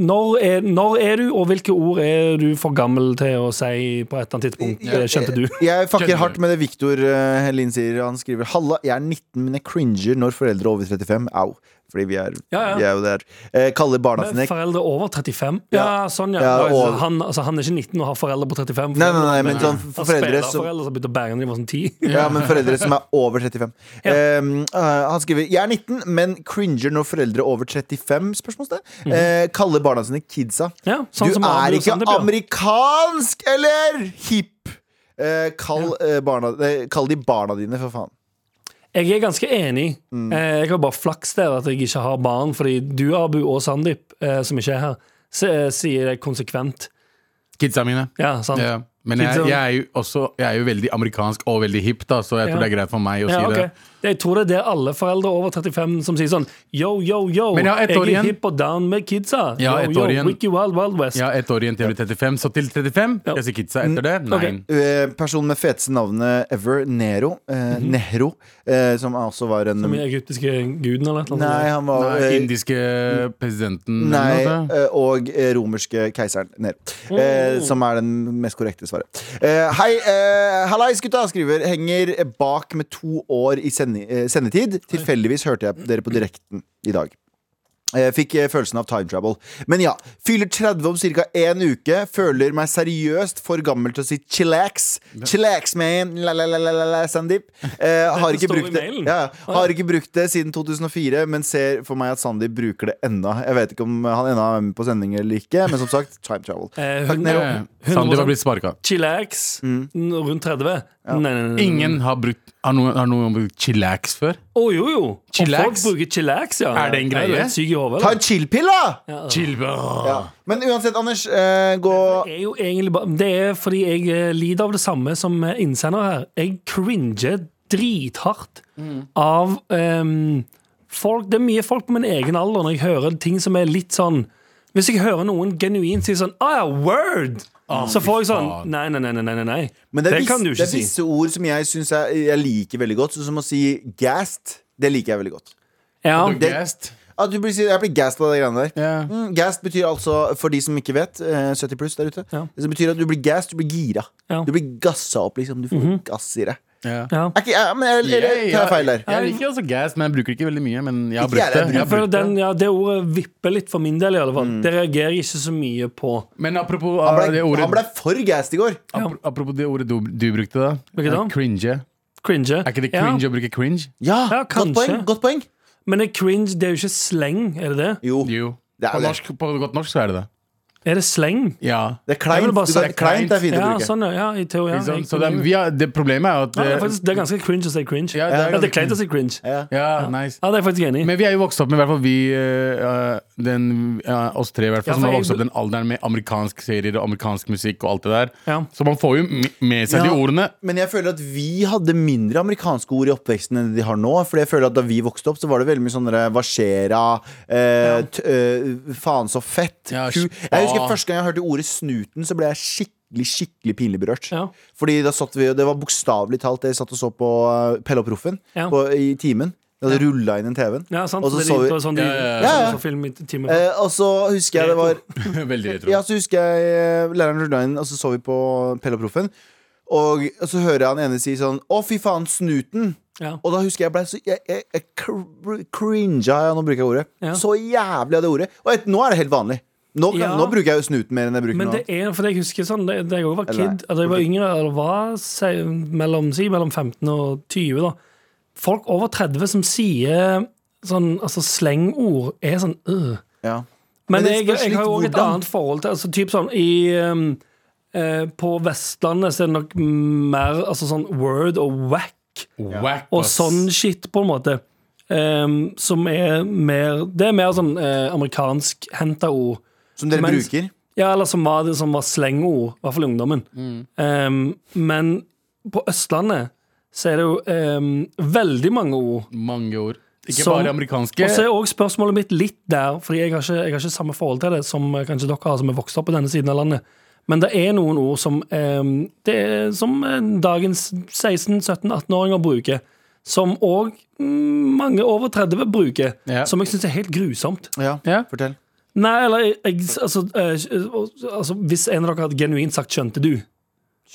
C: når, er, når er du, og hvilke ord er du for gammel til å si på et eller annet tidspunkt? Det skjønte du.
D: Jeg fucker
E: Skjønner.
D: hardt med det Viktor eh, Helin sier. Han skriver Halla, jeg er 19, men jeg cringer når foreldre over 35 Au. Fordi vi er,
C: Ja, ja.
D: Vi er jo der. Eh, kaller barna sine
C: Foreldre over 35? Ja, sånn, ja.
D: Ja,
C: altså,
D: og-
C: han, altså, han er ikke 19 og har foreldre på 35.
D: Nei, nei, nei, men sånn
C: Han
D: foreldre
C: spiller
D: som
C: foreldre som begynte å bære når de var sånn 10.
D: ja, men foreldre som er over 35. Ehm, eh, han skriver Jeg er 19, men cringer når foreldre over 35 Spørsmålstegn. Eh, kaller barna sine kidsa.
C: Mhm. Ja, sånn
D: du
C: som Adrian
D: er ikke
C: Sandep, ja.
D: amerikansk, eller? Hipp. Eh, kall, eh, barna, eh, kall de barna dine, for faen.
C: Jeg er ganske enig.
E: Mm.
C: Eh, Jeg har bare flaks der at jeg ikke har barn, fordi du, Abu og Sandeep, eh, som ikke er her, s- sier det konsekvent.
E: Kidsa mine.
C: Ja, sant?
E: Ja. Men jeg,
C: Kidsa-
E: jeg, er jo også, jeg er jo veldig amerikansk og veldig hipp, da, så jeg
C: Ja.
E: tror det er greit for meg å si
C: Ja, ok.
E: det.
C: Jeg tror det er det alle foreldre over 35 som sier sånn Yo, yo, yo,
E: Men jeg har ett år
C: er
E: igjen.
C: hipp og down med kidsa.
E: Ja,
C: yo,
E: ett
C: yo,
E: år igjen.
C: Wiki Wild Wild West.
E: Jeg har ett år igjen til jeg blir 35, så til 35
C: Ja. Mm,
E: skal jeg si kidsa etter det. Nei.
C: Ok.
D: Eh, Personen med feteste navnet ever, Nero. Eh, Nehru. Eh, som også var en
C: Mhm. Som i egyptiske guden eller et eller
D: Nei,
C: annet.
D: han var
E: Nei,
D: eh,
E: Indiske presidenten
D: Nei,
E: eller noe sånt.
D: eh, og eh, romerske keiseren Nero.
C: Oh.
D: Eh, som er den mest korrekte svaret. Eh, hei, eh, hallais, gutta! Skriver. Henger bak med to år i sende, eh, sendetid. Tilfeldigvis hørte jeg dere på direkten i dag. Eh, fikk eh, følelsen av time travel. Men ja. Fyller 30 om ca. én uke. Føler meg seriøst for gammel til å si chillax. Chillax, man! La-la-la-la, Sandeep. Eh, har,
C: Dette
D: ikke
C: står i
D: brukt det,
C: mailen.
D: ja, har ikke brukt det siden 2004, men ser for meg at Sandeep bruker det enda. Jeg vet ikke om han ennå er med på sending eller ikke, men som sagt, time travel. Takk,
C: Eh, hun-
D: Nero.
E: Eh, Sandeep har blitt sparka.
C: Chillax,
D: Mm.
C: n- rundt 30. Nei, nei, nei, nei.
E: Ingen har brukt Har noen, har noen brukt chillax før?
C: Å jo, jo.
E: Chillax?
C: Og folk bruker chillax, ja.
E: Er det en
C: Ja, du
E: greie?
C: helt syk i hodet.
D: Ta
C: eller?
D: en chill-pill, da!
E: Chill
D: Ja. Men uansett, Anders, eh, gå
C: er jo egentlig bare Det er fordi jeg eh, lider av det samme som eh, innsender her. Jeg cringer drithardt
D: Mm.
C: av ehm, folk Det er mye folk på min egen alder når jeg hører ting som er litt sånn Hvis jeg hører noen genuint si sånn Ah, ja, word! så får jeg sånn
E: Ah, faen.
C: Nei, nei, nei, nei, nei, nei.
D: Men det er,
C: kan du
D: visse, det
C: ikke
D: er
C: si.
D: visse ord som jeg syns jeg, jeg liker veldig godt, sånn som å si gassed. Det liker jeg veldig godt.
C: Ja.
D: det- At du blir, jeg blir gassed av de greiene der.
E: Ja.
D: Mm, gassed betyr altså, for de som ikke vet, eh, 70 pluss der ute
C: Ja.
D: Det som betyr at du blir gassed, du blir gira.
C: Ja. Mhm.
D: Du blir gassa opp, liksom. Du får gass i det.
E: Ja.
C: ja.
D: Er ikke, ja, men, eller, eller,
E: Jeg-
D: Eh, tar jeg feil der?
E: Jeg liker altså gas, men jeg bruker ikke veldig mye. Men jeg har
D: Ikke
E: brukt det.
D: jeg, jeg
E: Jeg har
C: For
E: brukt det.
C: den, ja, det ordet vipper litt for min del, i alle fall.
D: Mm.
C: Det reagerer jeg ikke så mye på.
E: Men apropos eh,
D: Han
E: det
D: ble,
E: ordet
D: han ble for gassed i går.
E: apro- Apropos det ordet du, du brukte, da.
C: Hvilket da?
E: Eh, Cringe.
C: Cringe.
E: Er ikke det
C: Ja.
E: cringe å bruke cringe?
D: Ja,
C: Ja,
D: godt
C: kanskje.
D: poeng. Godt poeng.
C: Men det er cringe, det er jo ikke sleng, er det det?
D: Jo,
E: Jo.
D: det
E: På,
D: er det.
E: norsk, på godt norsk så er det det.
C: Er det sleng?
E: Ja.
D: Det er
C: Jeg
D: kleint.
C: vil bare
D: Du
C: si
D: kan- kleint er fint å
C: Ja,
D: bruke.
C: sånn, ja, ja, i teori, ja.
E: Ikke sant?
C: Jeg-
E: Så det, er- vi har, det problemet er jo at
C: ja,
E: eh,
C: det, er faktisk, det er ganske cringe å si cringe.
E: Ja,
C: Ja,
E: det er
C: det er
E: ganske
C: kleint å si cringe. Ja,
E: Ja, nice.
C: det er jeg faktisk enig i.
E: Men vi er jo vokst opp med i hvert fall vi, eh, den, eh, oss tre i hvert
C: Ja,
E: fall, som
C: for
E: har
C: jeg-
E: vokst opp den alderen med amerikansk serier og amerikansk musikk og alt det der.
C: Ja.
E: Så man får jo m- med
D: Ja.
E: seg de ordene.
D: Men jeg føler at vi hadde mindre amerikanske ord i oppveksten enn de har nå. Fordi jeg føler at Da vi vokste opp, så var det veldig mye sånn der, Varsera, eh, t- eh, faen så fett.
E: Ja,
D: ku.
E: spa.
D: Jeg husker Første gang jeg hørte ordet snuten, så ble jeg skikkelig skikkelig pinlig berørt.
C: Ja.
D: Fordi da satt vi, og Det var bokstavelig talt det jeg satt og så på eh, Pelle og Proffen
C: Ja.
D: på- i timen. De hadde rullet inn en TV-en.
C: Ja, sant?
D: Og så
C: Det er
D: så
C: litt-
D: vi-
C: det var sånn de,
E: Ja, ja,
D: ja. Ja, ja.
C: Så film i timen.
D: Eh, og så husker jeg det var
E: Veldig retro.
D: Ja, så husker jeg eh, læreren rullet inn, og så så vi på Pelle og Proffen. Og og så hører jeg han ene si sånn Å, fy faen, snuten!
C: Ja.
D: Og da husker jeg jeg ble så Jeg, jeg, jeg cr- cringa, ja, nå bruker jeg ordet.
C: Ja.
D: Så jævlig av det ordet. Og et, nå er det helt vanlig. Nå, kan,
C: Ja.
D: nå bruker jeg jo snuten mer enn jeg bruker
C: Men
D: noe
C: det
D: annet.
C: er, for jeg husker sånn, da da jeg også var
D: Eller
C: kid, da jeg var yngre, eller var si, mellom, si, mellom 15 og 20, da. Folk over 30 som sier sånn, altså slengord, er sånn øh.
D: Ja. Men
C: Men,
D: det
C: jeg,
D: spørs
C: jeg
D: litt
C: har jo også et
D: hvordan.
C: annet forhold til altså, typ sånn, i, ehm, eh, På Vestlandet så er det nok mer altså, sånn word og whack
E: Whack,
C: og
E: ass.
C: sånn shit, på en måte. Ehm, som er mer Det er mer sånn eh, amerikansk henta ord.
D: Som dere
C: Mens-
D: bruker.
C: Ja, eller som var det som var slengord, i hvert fall i ungdommen.
D: Mm.
C: Ehm, men på Østlandet så er det jo ehm, veldig mange ord.
E: Mange ord. Ikke
C: Som-
E: bare amerikanske.
C: sånn- Og så er også spørsmålet mitt litt der, Fordi jeg har ikke, jeg har ikke samme forhold til det som eh, kanskje dere har, som er vokst opp på denne siden av landet. Men det er noen ord som, ehm, det er, som eh, dagens 16-17-18-åringer bruker. Som òg mm, mange over 30 bruker.
E: Ja.
C: Som jeg syns er helt grusomt.
D: Ja,
E: Ja.
D: fortell.
C: Nei, eller jeg, altså, eh, altså Hvis en av dere hadde genuint sagt 'skjønte du',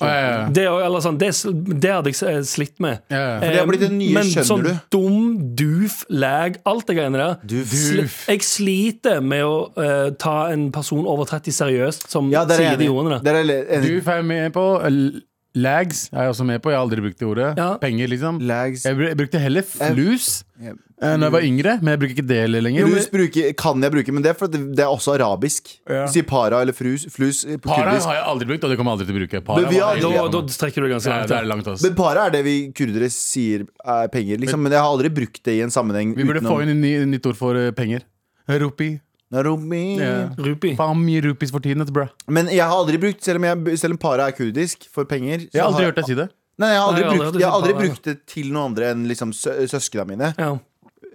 E: Å, ja, ja, ja.
C: det, er jo- eller sånn, det, er sl- det hadde jeg s- eh, slitt med.
E: Ja, ja.
C: Eh.
D: det har blitt det nye,
C: Men
D: skjønner
C: sånn
D: du?
C: dum, doof, lag, alt det greiene der.
D: Doof.
C: Sli- Jeg sliter med å eh, ta en person over 30 seriøst som
D: Ja, der er
C: sier
D: jeg
C: de
D: enig.
C: ordene der.
D: Der er jeg enig.
E: Doof er jeg med på. L- Lags er jeg også med på. Jeg har aldri brukt det ordet.
C: Ja.
E: Penger, liksom.
D: Lags.
E: Jeg br- jeg brukte heller flus
D: Jeg-
E: eh, Når jeg var yngre, men jeg bruker ikke det heller lenger.
D: Frus bruker, kan jeg bruke, men det er fordi det er også arabisk.
E: Ja.
D: Du sier para eller frus, flus eh, på
E: Para
D: kurdisk.
E: har jeg aldri brukt, og det kommer jeg aldri til å bruke. Para
D: Men vi
E: var
D: har-
E: helt
C: Da,
E: jævla-
C: da strekker du det ganske
E: Ja,
C: langt.
E: det
C: Ja,
E: er langt, ass.
D: Men para er det vi kurdere sier er penger, liksom. Men jeg har aldri brukt det i en sammenheng.
E: Vi burde få inn et ny, nytt ord for eh, penger. Rupi.
D: Naromi.
E: Ja.
C: Rupi.
E: Faen mye rupis for tiden, bra.
D: Men jeg har aldri brukt, selv om, jeg, selv om para er kurdisk for penger
E: Jeg har aldri hørt deg si det.
D: Nei, jeg har aldri,
C: Nei, jeg har aldri hørt
D: brukt,
C: deg
D: jeg har
C: si
D: aldri
C: para.
D: brukt det til noen andre enn liksom sø søskena mine.
C: Ja.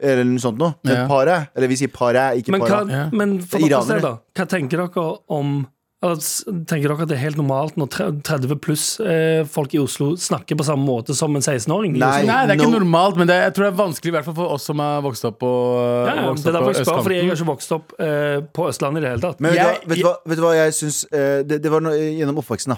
D: Eller noe sånt noe. Men
E: Ja.
D: para Eller vi sier para, ikke
C: Men,
D: para.
C: hva,
E: Ja.
C: men for
D: Det er
C: dere selv, da.
D: iranere.
C: Hva tenker dere om eller, s- Tenker dere at det er helt normalt når tre- 30 pluss eh, folk i Oslo snakker på samme måte som en 16-åring? i
D: Nei.
C: Oslo?
E: Nei, det er ikke
D: no.
E: normalt, men det er, jeg tror det er vanskelig i hvert fall for oss som har vokst opp på,
C: Ja, ja,
E: vokst
C: det er
E: opp
C: derfor
E: på
C: jeg spør, fordi jeg har
E: østkanten.
C: ikke vokst opp eh, på Østlandet i det hele tatt.
D: Men vet,
E: Jeg-
D: du, hva, vet, du hva, vet du hva jeg syns eh, det, det var noe, gjennom oppveksten, da.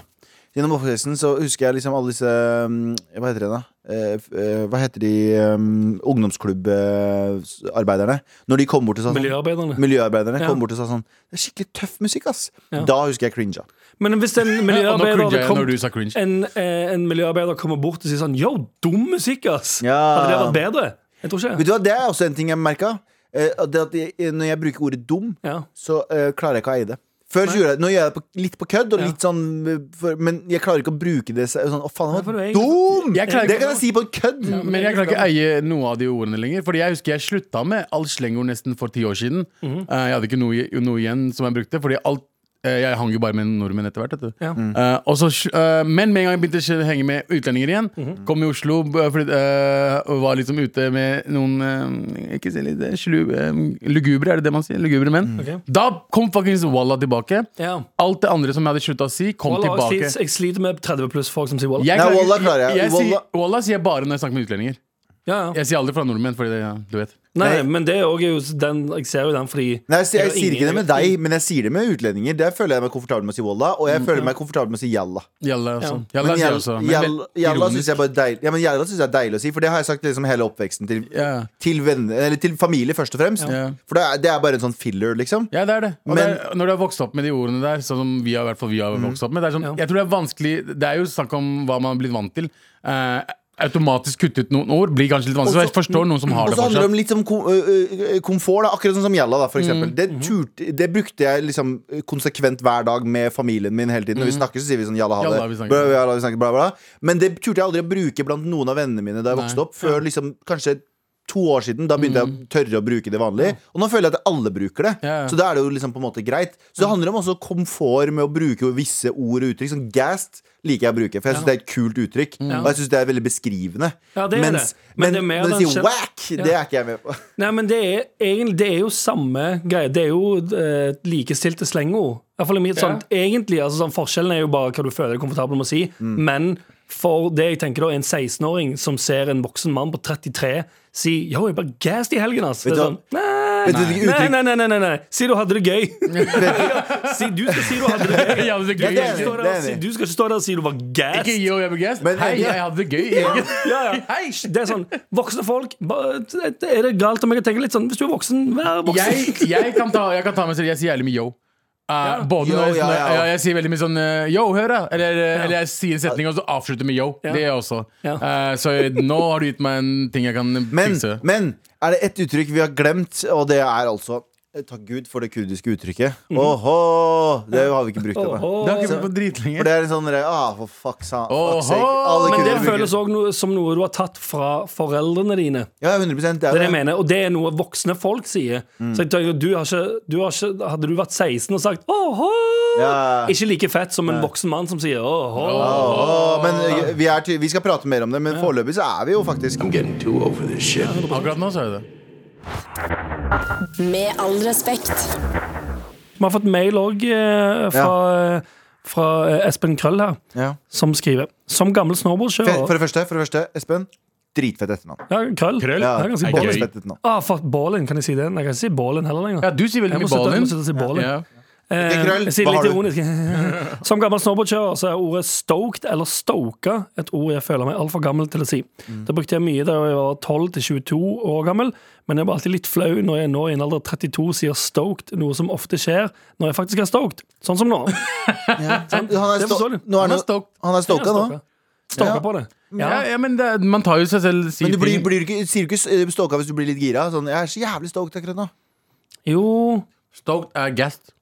D: Gjennom oppveksten så husker jeg liksom alle disse mm, Hva heter det, da? Eh, f- eh, hva heter de um, ungdomsklubbarbeiderne? Når de kom bort og sa sånn
C: Miljøarbeiderne.
D: Miljøarbeiderne
C: Ja.
D: kom bort og sa sånn Det er skikkelig tøff musikk, ass.
C: Ja.
D: Da husker jeg cringa.
C: Men hvis en
E: Ja, og nå
C: miljøarbeider
E: cringe
C: hadde
E: jeg når
C: kommet
E: du sa cringe.
C: en, eh, en miljøarbeider kommer bort og sier sånn Yo, dum musikk, ass!
D: Ja.
C: Hadde det vært bedre? Jeg tror
D: Vet
C: ikke.
D: du hva, Det er også en ting jeg merka. Det at jeg, når jeg bruker ordet dum,
C: Ja.
D: så eh, klarer jeg ikke å eie det. Før så gjorde jeg, Nå gjør jeg det på, litt på kødd, og
C: Ja.
D: litt sånn, eh, for, men jeg klarer ikke å bruke det så- sånn Å, faen, han
C: for du
D: var
C: er
D: dum!
E: Jeg klarer
D: det
E: ikke-
D: kan jeg si på en kødd.
E: Mm, Men jeg klarer ikke å eie noe av de ordene lenger. Fordi jeg husker jeg slutta med all slengord nesten for ti år siden. Eh, Jeg hadde ikke noe, i- noe igjen som jeg brukte, fordi alt eh, jeg hang jo bare med nordmenn etter hvert. vet du.
C: Ja.
D: Mm.
E: Eh, og så sl- eh, men med en gang jeg begynte å henge med utlendinger igjen, kom i Oslo b- fordi, eh, og var liksom ute med noen eh, Ikke si litt eh, slu, eh, lugubre, er det det man sier? Lugubre menn.
C: Ok.
E: Da kom fuckings Walla tilbake.
C: Ja.
E: Alt det andre som jeg hadde slutta å si, kom
C: Wallah,
E: tilbake.
C: jeg, sliter, jeg sliter med 30 pluss folk som sier Walla.
E: Jeg
D: Nei,
E: klarer-
D: Walla klarer jeg.
E: jeg
D: Walla-
E: sier, Walla sier jeg bare når jeg snakker med utlendinger.
C: Ja, ja.
E: Jeg sier aldri fra nordmenn, fordi det, ja, du vet.
C: Nei, men det er også jo den, jeg ser jo den fordi
D: Nei, jeg, jeg,
C: det er jo
D: sier ikke det
C: ingen-
D: med deg, men jeg sier det med utlendinger. Der føler jeg meg komfortabel med å si walla, og
E: Mm,
D: jeg føler meg komfortabel med å si jalla.
E: Jalla også.
D: Men
E: Jalla sier jeg
D: jall-
E: også. men
D: jall-
E: veldig
D: Jalla
E: ironisk.
D: syns jeg bare er deilig Ja, men jalla synes jeg er deilig å si, for det har jeg sagt liksom hele oppveksten til,
E: Ja.
D: til, venner, eller til familie, først og fremst.
E: Ja.
D: For det er, det er bare en sånn filler, liksom.
E: Ja, det er det. Og
D: Men- Mm.
E: det er, når du har vokst opp med de ordene der, sånn som vi har, i hvert fall vi har vokst opp med det er
C: Ja.
E: sånn, Jeg tror det er vanskelig Det er jo snakk om hva man har blitt vant til. Eh, automatisk kutte ut noen ord, blir kanskje litt
D: Også-
E: vanskelig. så jeg forstår noen som har
D: Og
E: det
D: så handler det
E: fortsatt. Mm.
D: om litt om kom, ø, ø, ø, komfort, da. akkurat sånn som Gjalla. da, For eksempel det, turte, det brukte jeg liksom konsekvent hver dag med familien min hele tiden. Når vi snakker, så sier vi sånn Gjalla, ha
E: Mm. Jalla, vi
D: det.
E: snakker.
D: Bla, jalla, vi snakker, bla, bla. Men det turte jeg aldri å bruke blant noen av vennene mine da jeg vokste opp. Før liksom kanskje to år siden. Da
E: Mm.
D: begynte jeg å tørre å bruke det vanlig. Og nå føler jeg at alle bruker det.
E: Ja, ja.
D: Så da er det jo liksom på en måte greit. Så det handler om også komfort med å bruke visse ord og uttrykk. Sånn gassed liker jeg å bruke, for jeg syns det er et kult uttrykk.
E: Mm.
D: Og jeg syns det er veldig beskrivende.
C: Ja, det er
D: Mens,
C: det.
D: men,
C: Men det er mer
D: når
C: den
D: du
C: kjen-
D: sier whack, det er ikke jeg med på.
C: Nei, men det er, egentlig, det er jo samme greie. Det er jo eh, likestilte slengord. I hvert fall i mitt, sånn, Egentlig, altså, sånn, Forskjellen er jo bare hva du føler deg komfortabel med å si.
D: Mm.
C: Men for det jeg tenker da, en 16-åring som ser en voksen mann på 33 si Yo, jeg ble gassed i helgen, ass. Det er
D: du hva-
C: sånn, nei,
D: Vet du hvilket
C: nei,
D: uttrykk-
C: nei, nei, nei, nei, nei. Si du hadde det gøy. si, du skal si du hadde det gøy.
E: Ja, men det er
C: Jeg
E: gøy.
C: skal ikke stå
D: Det er
C: der og si-
D: enig.
C: Du skal ikke stå der og si du var
E: Ikke
C: gassed.
E: yo, jeg ble gassed.
D: Men-
E: Hei, jeg hadde det gøy. Ja.
C: Ja, ja. Det er sånn, Voksne folk ba- Er det galt om jeg tenker litt sånn Hvis du er voksen, vær voksen.
E: Jeg, jeg, kan ta, jeg kan ta meg selv. Jeg sier jævlig mye yo. Eh, både
D: Yo,
E: når jeg,
D: ja,
E: sånn-
D: ja.
E: ja, jeg sier veldig mye sånn eh, Yo, hør, da! Eller, eh, eller jeg sier en setning og så avslutter med yo. Det gjør jeg også.
C: Ja.
E: Eh, så jeg- nå har du gitt meg en ting jeg kan
D: Men,
E: fikse.
D: men er det ett uttrykk vi har glemt, og det er altså eh, Takk Gud for det kurdiske uttrykket. Åhå! Det har vi ikke brukt ennå.
C: Mhm. Åhå.
E: det har ikke vært på dritlenge.
D: For det er en sånn derre ah, For fuck, sa
E: Åhå!
D: fuck sake. Alle
C: Men det
D: kurdere bruker
C: føles
D: det.
C: òg noe, som noe du har tatt fra foreldrene dine.
D: Ja, Mm. 100 det
C: Det er
D: er
C: det jeg
D: det.
C: mener, Og det er noe voksne folk sier. Så jeg tenker, du har ikke, du har ikke, Hadde du vært 16 og sagt åhå
D: Ja.
C: Ikke like fett som en voksen mann som sier åhå.
D: Åh, men eh, vi, er ty vi skal prate mer om det, men foreløpig så er vi jo faktisk
E: Akkurat nå så er det det.
F: Med all respekt.
C: Vi har fått mail òg eh, fra, fra eh, Espen Krøll her,
D: ja.
C: som skriver Som gammel
D: for, for
C: snowboardkjører
D: det første, for det første Espen. Dritfett etternavn.
C: ja, Krøll.
E: Krøll?
C: Ja, ganske
E: Er
C: bra.
E: gøy.
D: Dritfett etternavn.
C: Ah, fuck, Ballin, kan jeg si det? Nei, Jeg kan ikke si Ballin heller lenger.
E: Ja, du sier veldig
C: Jeg må
E: mye
C: slutte- jeg må
E: Balin.
C: slutte å si Ballin.
E: Ja.
C: Eh,
D: Ok, Krøll,
C: jeg sier
D: hva
C: litt
D: har
C: ironisk. Som gammel snowboardkjører så er ordet stoked eller stoka et ord jeg føler meg altfor gammel til å si. Det brukte jeg mye da jeg var 12-22 år gammel, men jeg var alltid litt flau når jeg nå i en alder av 32 sier stoked, noe som ofte skjer når jeg faktisk er stoked. Sånn som nå.
D: Han er
C: Det
D: sto-
C: forstår du.
D: nå er
E: Han er
D: han-
E: stoked.
D: Han er stoka nå.
C: Stoka. Stoka
D: Ja.
C: på det.
E: Ja,
C: Ja.
E: ja, men det, er- man tar jo seg selv sier
D: Men du blir,
E: ting.
D: blir du ikke, sier du ikke eh, stoka hvis du blir litt gira? Sånn, 'Jeg er så jævlig stoked akkurat nå'.
C: Jo
E: Stoked er gassed.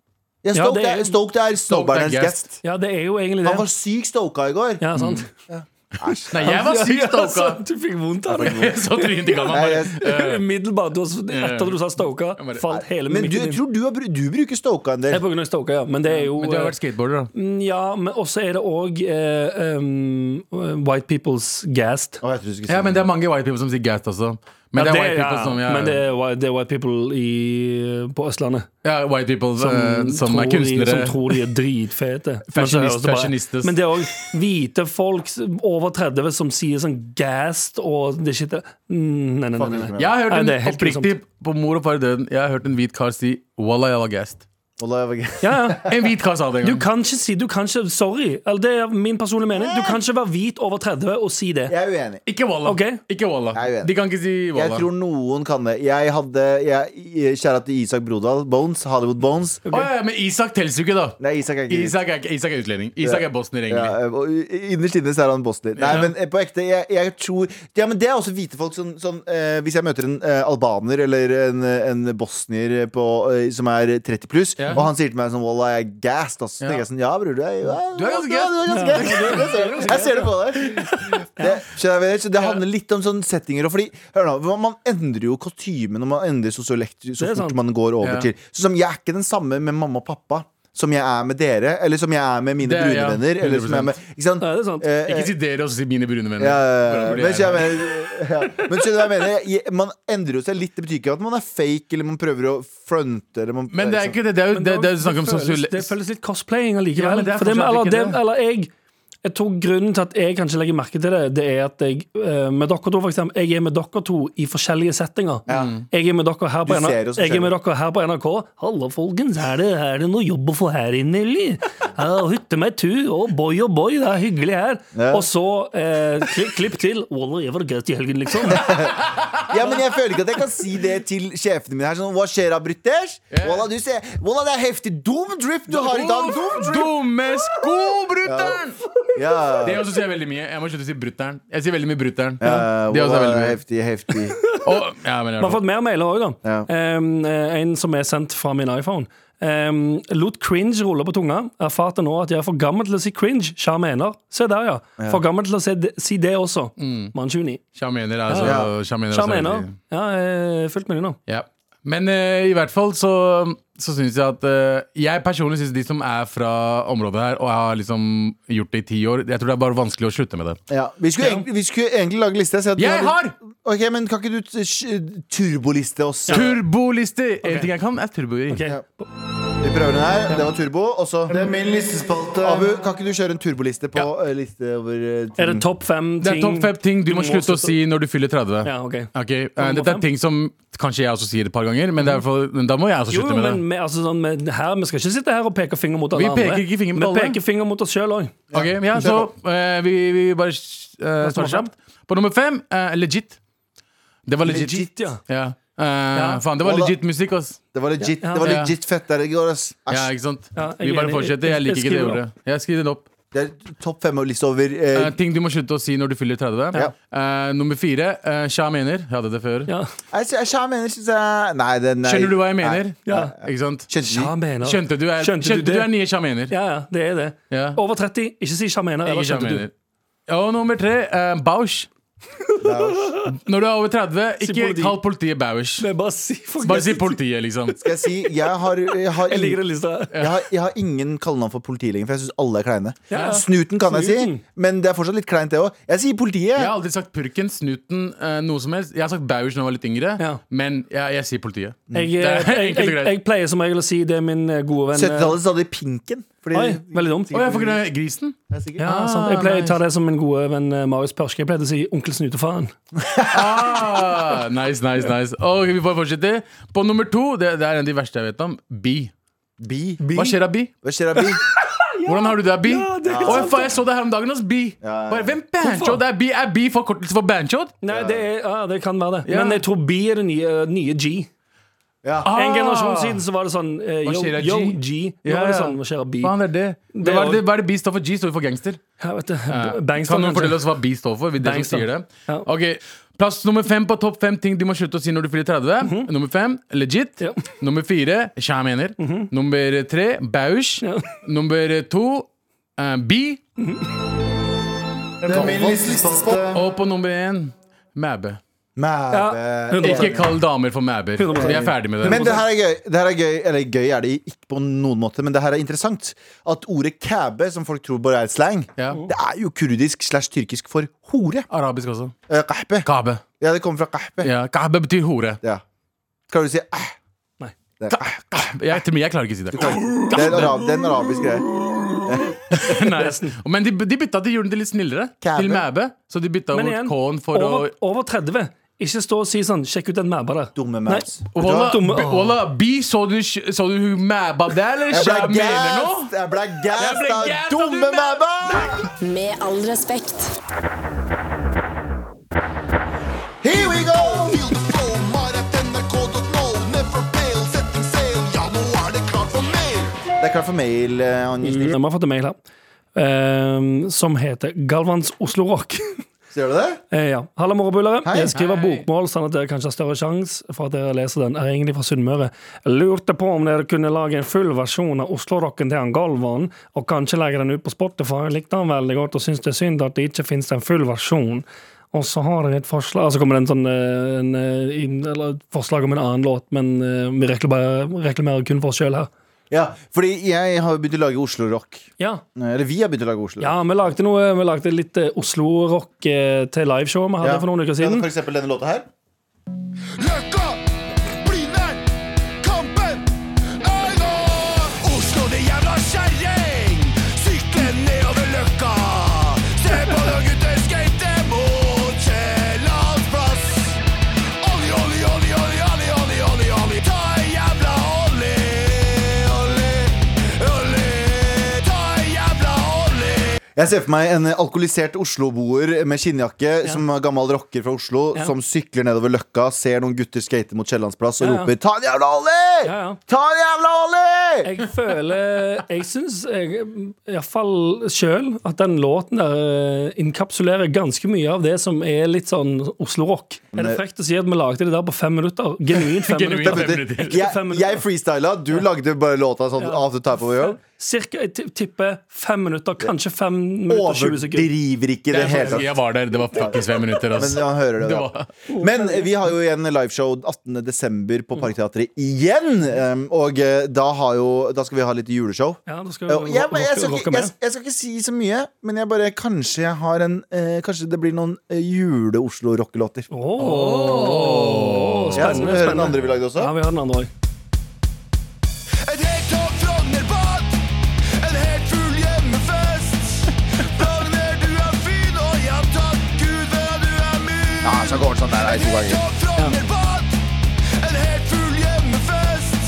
D: Jeg er
C: Ja,
D: stoked,
C: det er-
D: er, stoked er snowboarderens
E: Stoked er guest.
D: guest.
C: Ja, det er jo egentlig
D: Han
C: det.
D: var sykt stoka i går.
C: Ja, sant.
E: Nei, jeg var sykt
C: Ja,
E: stoka!
C: sant, Du fikk vondt av det.
E: Så trynet til gamma.
D: Nei,
E: bare, eh,
D: jeg-
C: Umiddelbart. du har- Etter at du sa stoka,
E: Jeg bare-
C: falt hele
D: men du,
C: mimikken
D: jeg
C: din.
D: tror du, har, bru- du bruker stoka en
C: Det
D: del.
C: er på grunn av stoka, ja. Men det er jo
E: Men du har vært skateboarder, da.
C: Mm, Ja, men også er det òg eh, um, White People's Gassed.
D: Å, jeg tror du skulle si
E: Ja, men
D: det.
E: det er mange white people som sier gassed også. Men
C: Ja,
E: det er white
C: ja,
E: people som ja,
C: Men det er, whi- det er white people i, på Østlandet Mm,
E: ja, white people som, eh, som er
C: tror De,
E: kunstnere.
C: som tror de er dritfete. Men så høres det bare-
E: fashionistes.
C: Men det er òg hvite folk over 30 som sier sånn gassed og det shit der. Mm, Nei, nei, nei. nei.
E: Jeg har hørt
C: Nei,
E: en
C: det er helt
E: oppriktig på mor og far i døden Jeg har hørt en hvit kar si 'walla, jeg var gassed'.
D: Wallah, jeg var gøy.
C: Ja, ja.
E: En hvit kar sa det en
C: Du
E: gang.
C: kan ikke si du kan ikke, Sorry, eller det er min personlige mening. Du kan ikke være hvit over 30 og si det.
D: Jeg er uenig.
E: Ikke walla.
C: Ok.
E: Ikke walla.
D: Jeg er uenig.
E: De kan ikke si
D: Jeg
E: walla.
D: tror noen kan det. Jeg hadde jeg, Kjære til Isak Brodal. Bones. Hollywood Bones.
E: Å, ja, ja, men Isak teller jo ikke, da.
D: Nei, Isak er ikke
E: Isak er, ikke- Isak er utlending. Isak er bosnier, egentlig.
D: Ja, eh, og innerst inne så er han bosnier. Nei, men eh, på ekte, jeg, jeg tror Ja, men det er også hvite folk sånn, sånn eh, Hvis jeg møter en eh, albaner eller en, eh, en bosnier på, eh, som er 30 pluss,
E: Ja.
D: og han sier til meg sånn Wallah, jeg er gassed, ass. Så
E: Ja.
D: tenker jeg sånn Ja, bror, du er, ja,
E: Du er ganske gassed.
D: du er ganske gassed. Jeg ser det. Jeg ser det på deg. Det, skjønner jeg, så det handler litt om sånne settinger og fordi Hør nå, man endrer jo kostymen, og man endrer sosiolekt så
C: Det er sant.
D: fort man går over
E: Ja.
D: til. Så som, jeg er ikke den samme med mamma og pappa. Som jeg er med dere, eller som jeg er med mine
E: Det er-
D: brune
E: ja,
D: venner. Eller som jeg er med, ikke sant?
C: Ja, det er sant.
D: Eh, eh,
E: Ikke si dere og så si mine brune venner.
D: ja, ja,
E: Hvordan
D: ja.
E: blir
D: Men,
E: jeg
D: så jeg
E: her?
D: mener, ja. men skjønner du hva jeg mener? Jeg- Man endrer jo seg litt. Det betyr ikke at man er fake eller man prøver å fronte. Eller man, liksom.
E: Men det er ikke det. Det er jo
C: Men
E: det, det er snakk om
C: det føles, det
E: sosial...
C: føles litt cosplaying allikevel.
E: Ja, men det er
C: For det med-
E: fortsatt
C: eller,
E: ikke
C: det,
E: det.
C: eller jeg jeg tror Grunnen til at jeg kanskje legger merke til det, Det er at jeg eh, med dere to for eksempel, Jeg er med dere to i forskjellige settinger.
E: Mm.
C: Jeg er med dere her på,
D: Du ser
C: NRK,
D: oss
C: jeg er med
D: forskjellig.
C: dere her på NRK. 'Halla, folkens. Er det, er det noe jobb å få her inne, eller?' Ja, 'Hytte meg tu. Å, boy, å, boy. Det er hyggelig her.'
D: Ja.
C: Og så eh, klipp, klipp til. 'Walla, jeg var gøyest i helgen', liksom.
D: Ja, men jeg føler ikke at jeg kan si det til sjefene mine her. Sånn, hva skjer da, Brytters? Walla, du ser Walla, det er heftig. Dum drip du har i dag. Dum drip.
E: Dumme sko, brutter'n!
D: Ja.
E: Det også sier jeg veldig mye. Jeg må slutte å si brutter'n. Jeg sier veldig mye brutter'n.
D: Eh,
E: Det også er
D: wow,
E: veldig mye.
D: heftig, heftig.
E: Og- ja, men jeg
C: Vi har fått mer mailer òg, da.
D: Ja.
C: Em, eh, en som er sendt fra min iPhone. Em, lot cringe rulle på tunga. Erfarte nå at jeg er for gammel til å si cringe. Sja mener. Se der, ja. For gammel til å si det, si det også. Mann 29.
E: Sjamener, altså.
D: Ja.
E: sjamener
C: Sja
E: også Mm. er
C: mener.
E: veldig-
C: Ja, eh, fullt mulig nå.
E: Ja. Men eh, i hvert fall så, så syns jeg at eh, Jeg personlig syns de som er fra området her, og jeg har liksom gjort det i ti år Jeg tror det er bare vanskelig å slutte med det.
D: Ja. Vi, skulle egentlig, vi skulle egentlig lage liste. så at du
E: Jeg har!
D: Ok, men Kan ikke du t- sh- turboliste oss?
E: Turbolister! En ting jeg kan, er turboer.
C: Ok.
D: Ja. Vi prøver den her. Det var turbo. Og så Abu, kan ikke du kjøre en turboliste på eh, liste over eh, ting?
C: Er det topp fem
E: Det
C: ting
E: er topp fem ting du må slutte å
C: slutte-
E: si når du fyller 30.
C: Ja, ok.
E: Ok, eh, Dette er
C: fem.
E: ting som kanskje jeg også sier et par ganger, men, det er i hvert fall- men da må jeg også
C: Jo,
E: slutte med det.
C: men vi, altså, sånn, vi, her, vi skal ikke sitte her og peke finger mot alle
E: Vi
C: andre.
E: peker ikke finger mot alle.
C: Vi peker finger mot oss sjøl òg.
E: Ok, ja, så eh, vi, vi bare uh,
C: nummer
E: starter kjapt. På nummer fem, eh, legit. Det var legit.
C: Legit, ja.
E: Ja. Eh,
C: Ja.
E: Faen, det var
D: Og da-
E: legit musikk, ass.
D: Det var legit,
C: Ja.
D: det var
E: Ja.
D: legit fett der i går. ass.
E: Ja,
D: Æsj.
E: ikke sant?
C: Ja, jeg
E: vi
C: er
E: bare
C: enig.
E: fortsetter.
C: Jeg-
E: Jeg liker
C: jeg
E: ikke det
C: skriver
E: ordet. Jeg skriver den opp.
D: Det er topp fem-liste over eh,
E: Eh, ting du må slutte å si når du fyller 30.
D: Ja.
E: Eh, nummer fire, uh, Sja mener. Jeg hadde det før.
C: Ja.
D: Jeg, jeg, jeg mener, synes jeg Nei, det nei.
E: Skjønner du hva jeg mener?
C: Ja.
E: Ikke sant?
D: Skjønte
C: Sja
D: du?
C: mener.
E: Skjønte du er,
C: Skjønte du
E: skjønte du
C: det?
E: er nye Sja mener?
C: Ja, ja, det er det.
E: Ja.
C: Over 30, ikke si sjamener. Eller
E: Ikke Sja
C: skjønte du?
E: mener. Og nummer tre, eh, Bausch. Når du er over 30,
C: Si
E: ikke
C: politi.
E: kall politiet Bausch.
C: Men bare si for
E: Bare si politiet, liksom.
D: Skal jeg si Jeg har, jeg har,
C: Jeg
D: ingen,
C: liker den lista. her.
E: Mm.
D: jeg har, jeg har ingen kallenavn for politiet lenger, for jeg syns alle er kleine.
C: Ja.
D: Snuten kan jeg si,
C: Snuten.
D: men det er fortsatt litt kleint, det òg. Jeg sier politiet.
E: Jeg har aldri sagt purken, snuten, eh, noe som helst. Jeg har sagt Bausch når jeg var litt yngre,
C: Ja.
E: men jeg, jeg sier politiet.
C: Jeg,
E: Det er
C: jeg, jeg,
E: enkelt og greit.
C: jeg pleier som regel å si det min eh, gode venn eh,
D: 70-tallet sa de pinken. Fordi,
C: Oi, veldig dumt.
E: Å, jeg får ikke grisen.
D: Jeg er sikker.
E: Ah,
C: Ja, sant. Jeg pleier å ta det som min gode venn eh, Marius Pørske. Jeg pleide å si onkel Snutefaren.
E: Ah, nice, nice, nice. Ok, Vi får fortsette. På nummer to, det, det er en av de verste jeg vet om, bi.
D: Bi.
E: Hva skjer av bi?
D: Hva skjer av bi?
E: Hvordan har du det av bi?
C: Ja, det er
E: Oi, faen, jeg så det her om dagen hos bi.
D: ja, ja.
E: Bare, Hvem banchod er bi? Er bi forkortelse for banchod?
C: Nei, det, er, ja, det kan være det.
E: Ja. Ah.
C: Men jeg tror B er det nye, nye G.
D: Ja.
C: En generasjon siden så var det sånn eh,
E: Hva
C: yo,
E: skjer av
C: yo,
E: G?
C: G. Nå
E: Ja,
C: var det
E: ja.
C: sånn, hva skjer av B?
E: Faen, det er det.
C: Det
E: det, var,
C: er-
E: det hva er det bi står for? G står for gangster.
C: Ja, vet du.
E: Ja.
C: Bangster,
E: kan noen
C: kanskje.
E: fortelle oss hva bi står for? Vi- Dere som
C: Bangster.
E: sier det.
C: Ja.
E: Ok, Plass nummer fem på topp fem ting de må slutte å si når du fyller 30. Nummer fem legit.
C: Mhm. Ja. Mhm.
E: Nummer fire sja mener. Nummer tre bausch.
C: Ja.
E: Nummer to eh, bi. Og på nummer én mæbe.
D: Mæbe.
C: Ja,
E: Ikke kall damer for mæber.
C: 100%.
E: Vi er ferdig med det.
D: Men det her er gøy. Det her er gøy Eller gøy er det ikke på noen måte, men det her er interessant. At ordet kæbe, som folk tror bare er slang,
E: Ja.
D: det er jo kurdisk slash tyrkisk for hore.
E: Arabisk også.
D: Eh, Kahpe.
E: Kabe.
D: Ja, det kommer fra kahpe.
E: Ja, kabe betyr hore.
D: Ja. Klarer du å si eh?
C: Nei.
D: Det er, eh,
E: Jeg, til og med jeg klarer ikke å si det.
D: det er, en, arab, det er en arabisk greie.
C: Nesten.
E: Men de, de bytta til gjorde det litt snillere.
D: Kæbe.
E: Til mæbe. Så de bytta
C: Men
E: bort
C: igjen,
E: K-en for å
C: Over, over 30. Ikke stå og si sånn 'sjekk ut den mæba der'.
D: Dumme
C: Nei.
D: maus.
E: Walla,
C: Dumme-
E: b- walla, bi, så du, så du hun mæba der, eller?
D: Jeg
E: Hva
D: ble
E: mener du nå?
D: gassed! Jeg ble
E: Jeg ble
D: gassed av
E: gassed av du
D: dumme
E: mæ-
D: mæba!
F: Med all respekt.
D: Here we go!
G: Feel the flow, maratnrk.no. Never fail, setting sail. Ja, nå er det klart for mer.
D: Det er klart for mail. eh, Angelina.
C: Vi har fått en mail her ehm, som heter Galvans Oslo Rock.
D: Ser du det?
C: Eh, ja. Halla, morapulere.
D: Hei.
C: Jeg skriver
E: Hei.
C: bokmål, sånn at dere kanskje har større sjanse for at dere leser den. Er egentlig fra Sunnmøre. Lurte på om dere kunne lage en full versjon av Oslo-rocken til han Galvan, og kanskje legge den ut på Spotify. Jeg likte han veldig godt og syns det er synd at det ikke finnes en full versjon. Og så har jeg et forslag altså kommer det en sånn, eh, en, eh, inn- eller et forslag om en annen låt, men eh, vi reklamerer, reklamerer kun for oss sjøl her.
D: Ja, fordi jeg har jo begynt å lage Oslo-rock.
C: Ja,
D: Eller vi har begynt å lage Oslo.
C: Ja, vi lagde, noe, vi lagde litt eh, Oslo-rock eh, til liveshowet vi hadde for noen uker siden.
D: For eksempel denne låta her.
G: Løkka, Blindern, Kampen, Einar. Oslo, det jævla kjerring. Sykle nedover Løkka. Se på noen gutter skate mot Kiellands plass. Olli, olli, olli, olli, olli, olli, olli, olli. Ta en jævla olli, olli, olli. Ta en jævla olli.
D: Jeg ser for meg en alkoholisert Oslo-boer med skinnjakke som er gammel rocker fra Oslo,
C: Ja.
D: som sykler nedover Løkka, ser noen gutter skate mot Kiellandsplass og
C: Ja, ja.
D: roper 'ta en jævla ollie!'
C: Ja, ja.
D: Ta en jævla ollie!
C: Jeg føler Jeg syns iallfall sjøl at den låten der eh, inkapsulerer ganske mye av det som er litt sånn Oslo-rock. Er det frekt å si at vi lagde det der på fem minutter? Genuint fem
E: Genuint
C: minutter.
E: fem
C: Ikke
E: minutter.
C: fem
D: Jeg,
C: minutter.
D: jeg freestyla, du lagde bare låta sånn
C: Ja.
D: after type of your.
C: Cirka, jeg ti- tipper fem minutter, kanskje fem minutter, 20 sekunder.
D: Overdriver ikke i det hele
E: Jeg,
D: tatt.
E: var der. Det var fuckings fem minutter.
D: Men
E: Altså.
D: man hører det,
E: Det
D: da.
E: var,
D: Men vi har jo igjen liveshow 18.12. på Parkteatret igjen.
C: Mm.
D: Um, og eh, da, har jo, da skal vi ha litt juleshow.
C: Ja, da skal
D: Ja,
C: vi
D: Jeg, jeg,
C: rocke-
D: skal
C: rocke
D: ikke, jeg,
C: med.
D: jeg skal ikke si så mye, men jeg bare kanskje jeg har en eh, Kanskje det blir noen eh, jule-Oslo-rockelåter.
C: Åh,
D: Ja, skal vi
C: Spennende.
D: høre den andre
C: spennende.
D: vi lagde
C: Ja,
D: også?
C: vi har den andre òg.
G: Et helt tog Frognerbad. En helt full hjemmefest. Frogner, du er fin, og ja takk Gud for at du er min.
D: Ja, så går det sånn der, er nei,
G: Et
D: to
G: helt
D: ganger.
G: tog Frognerbad. En helt full hjemmefest.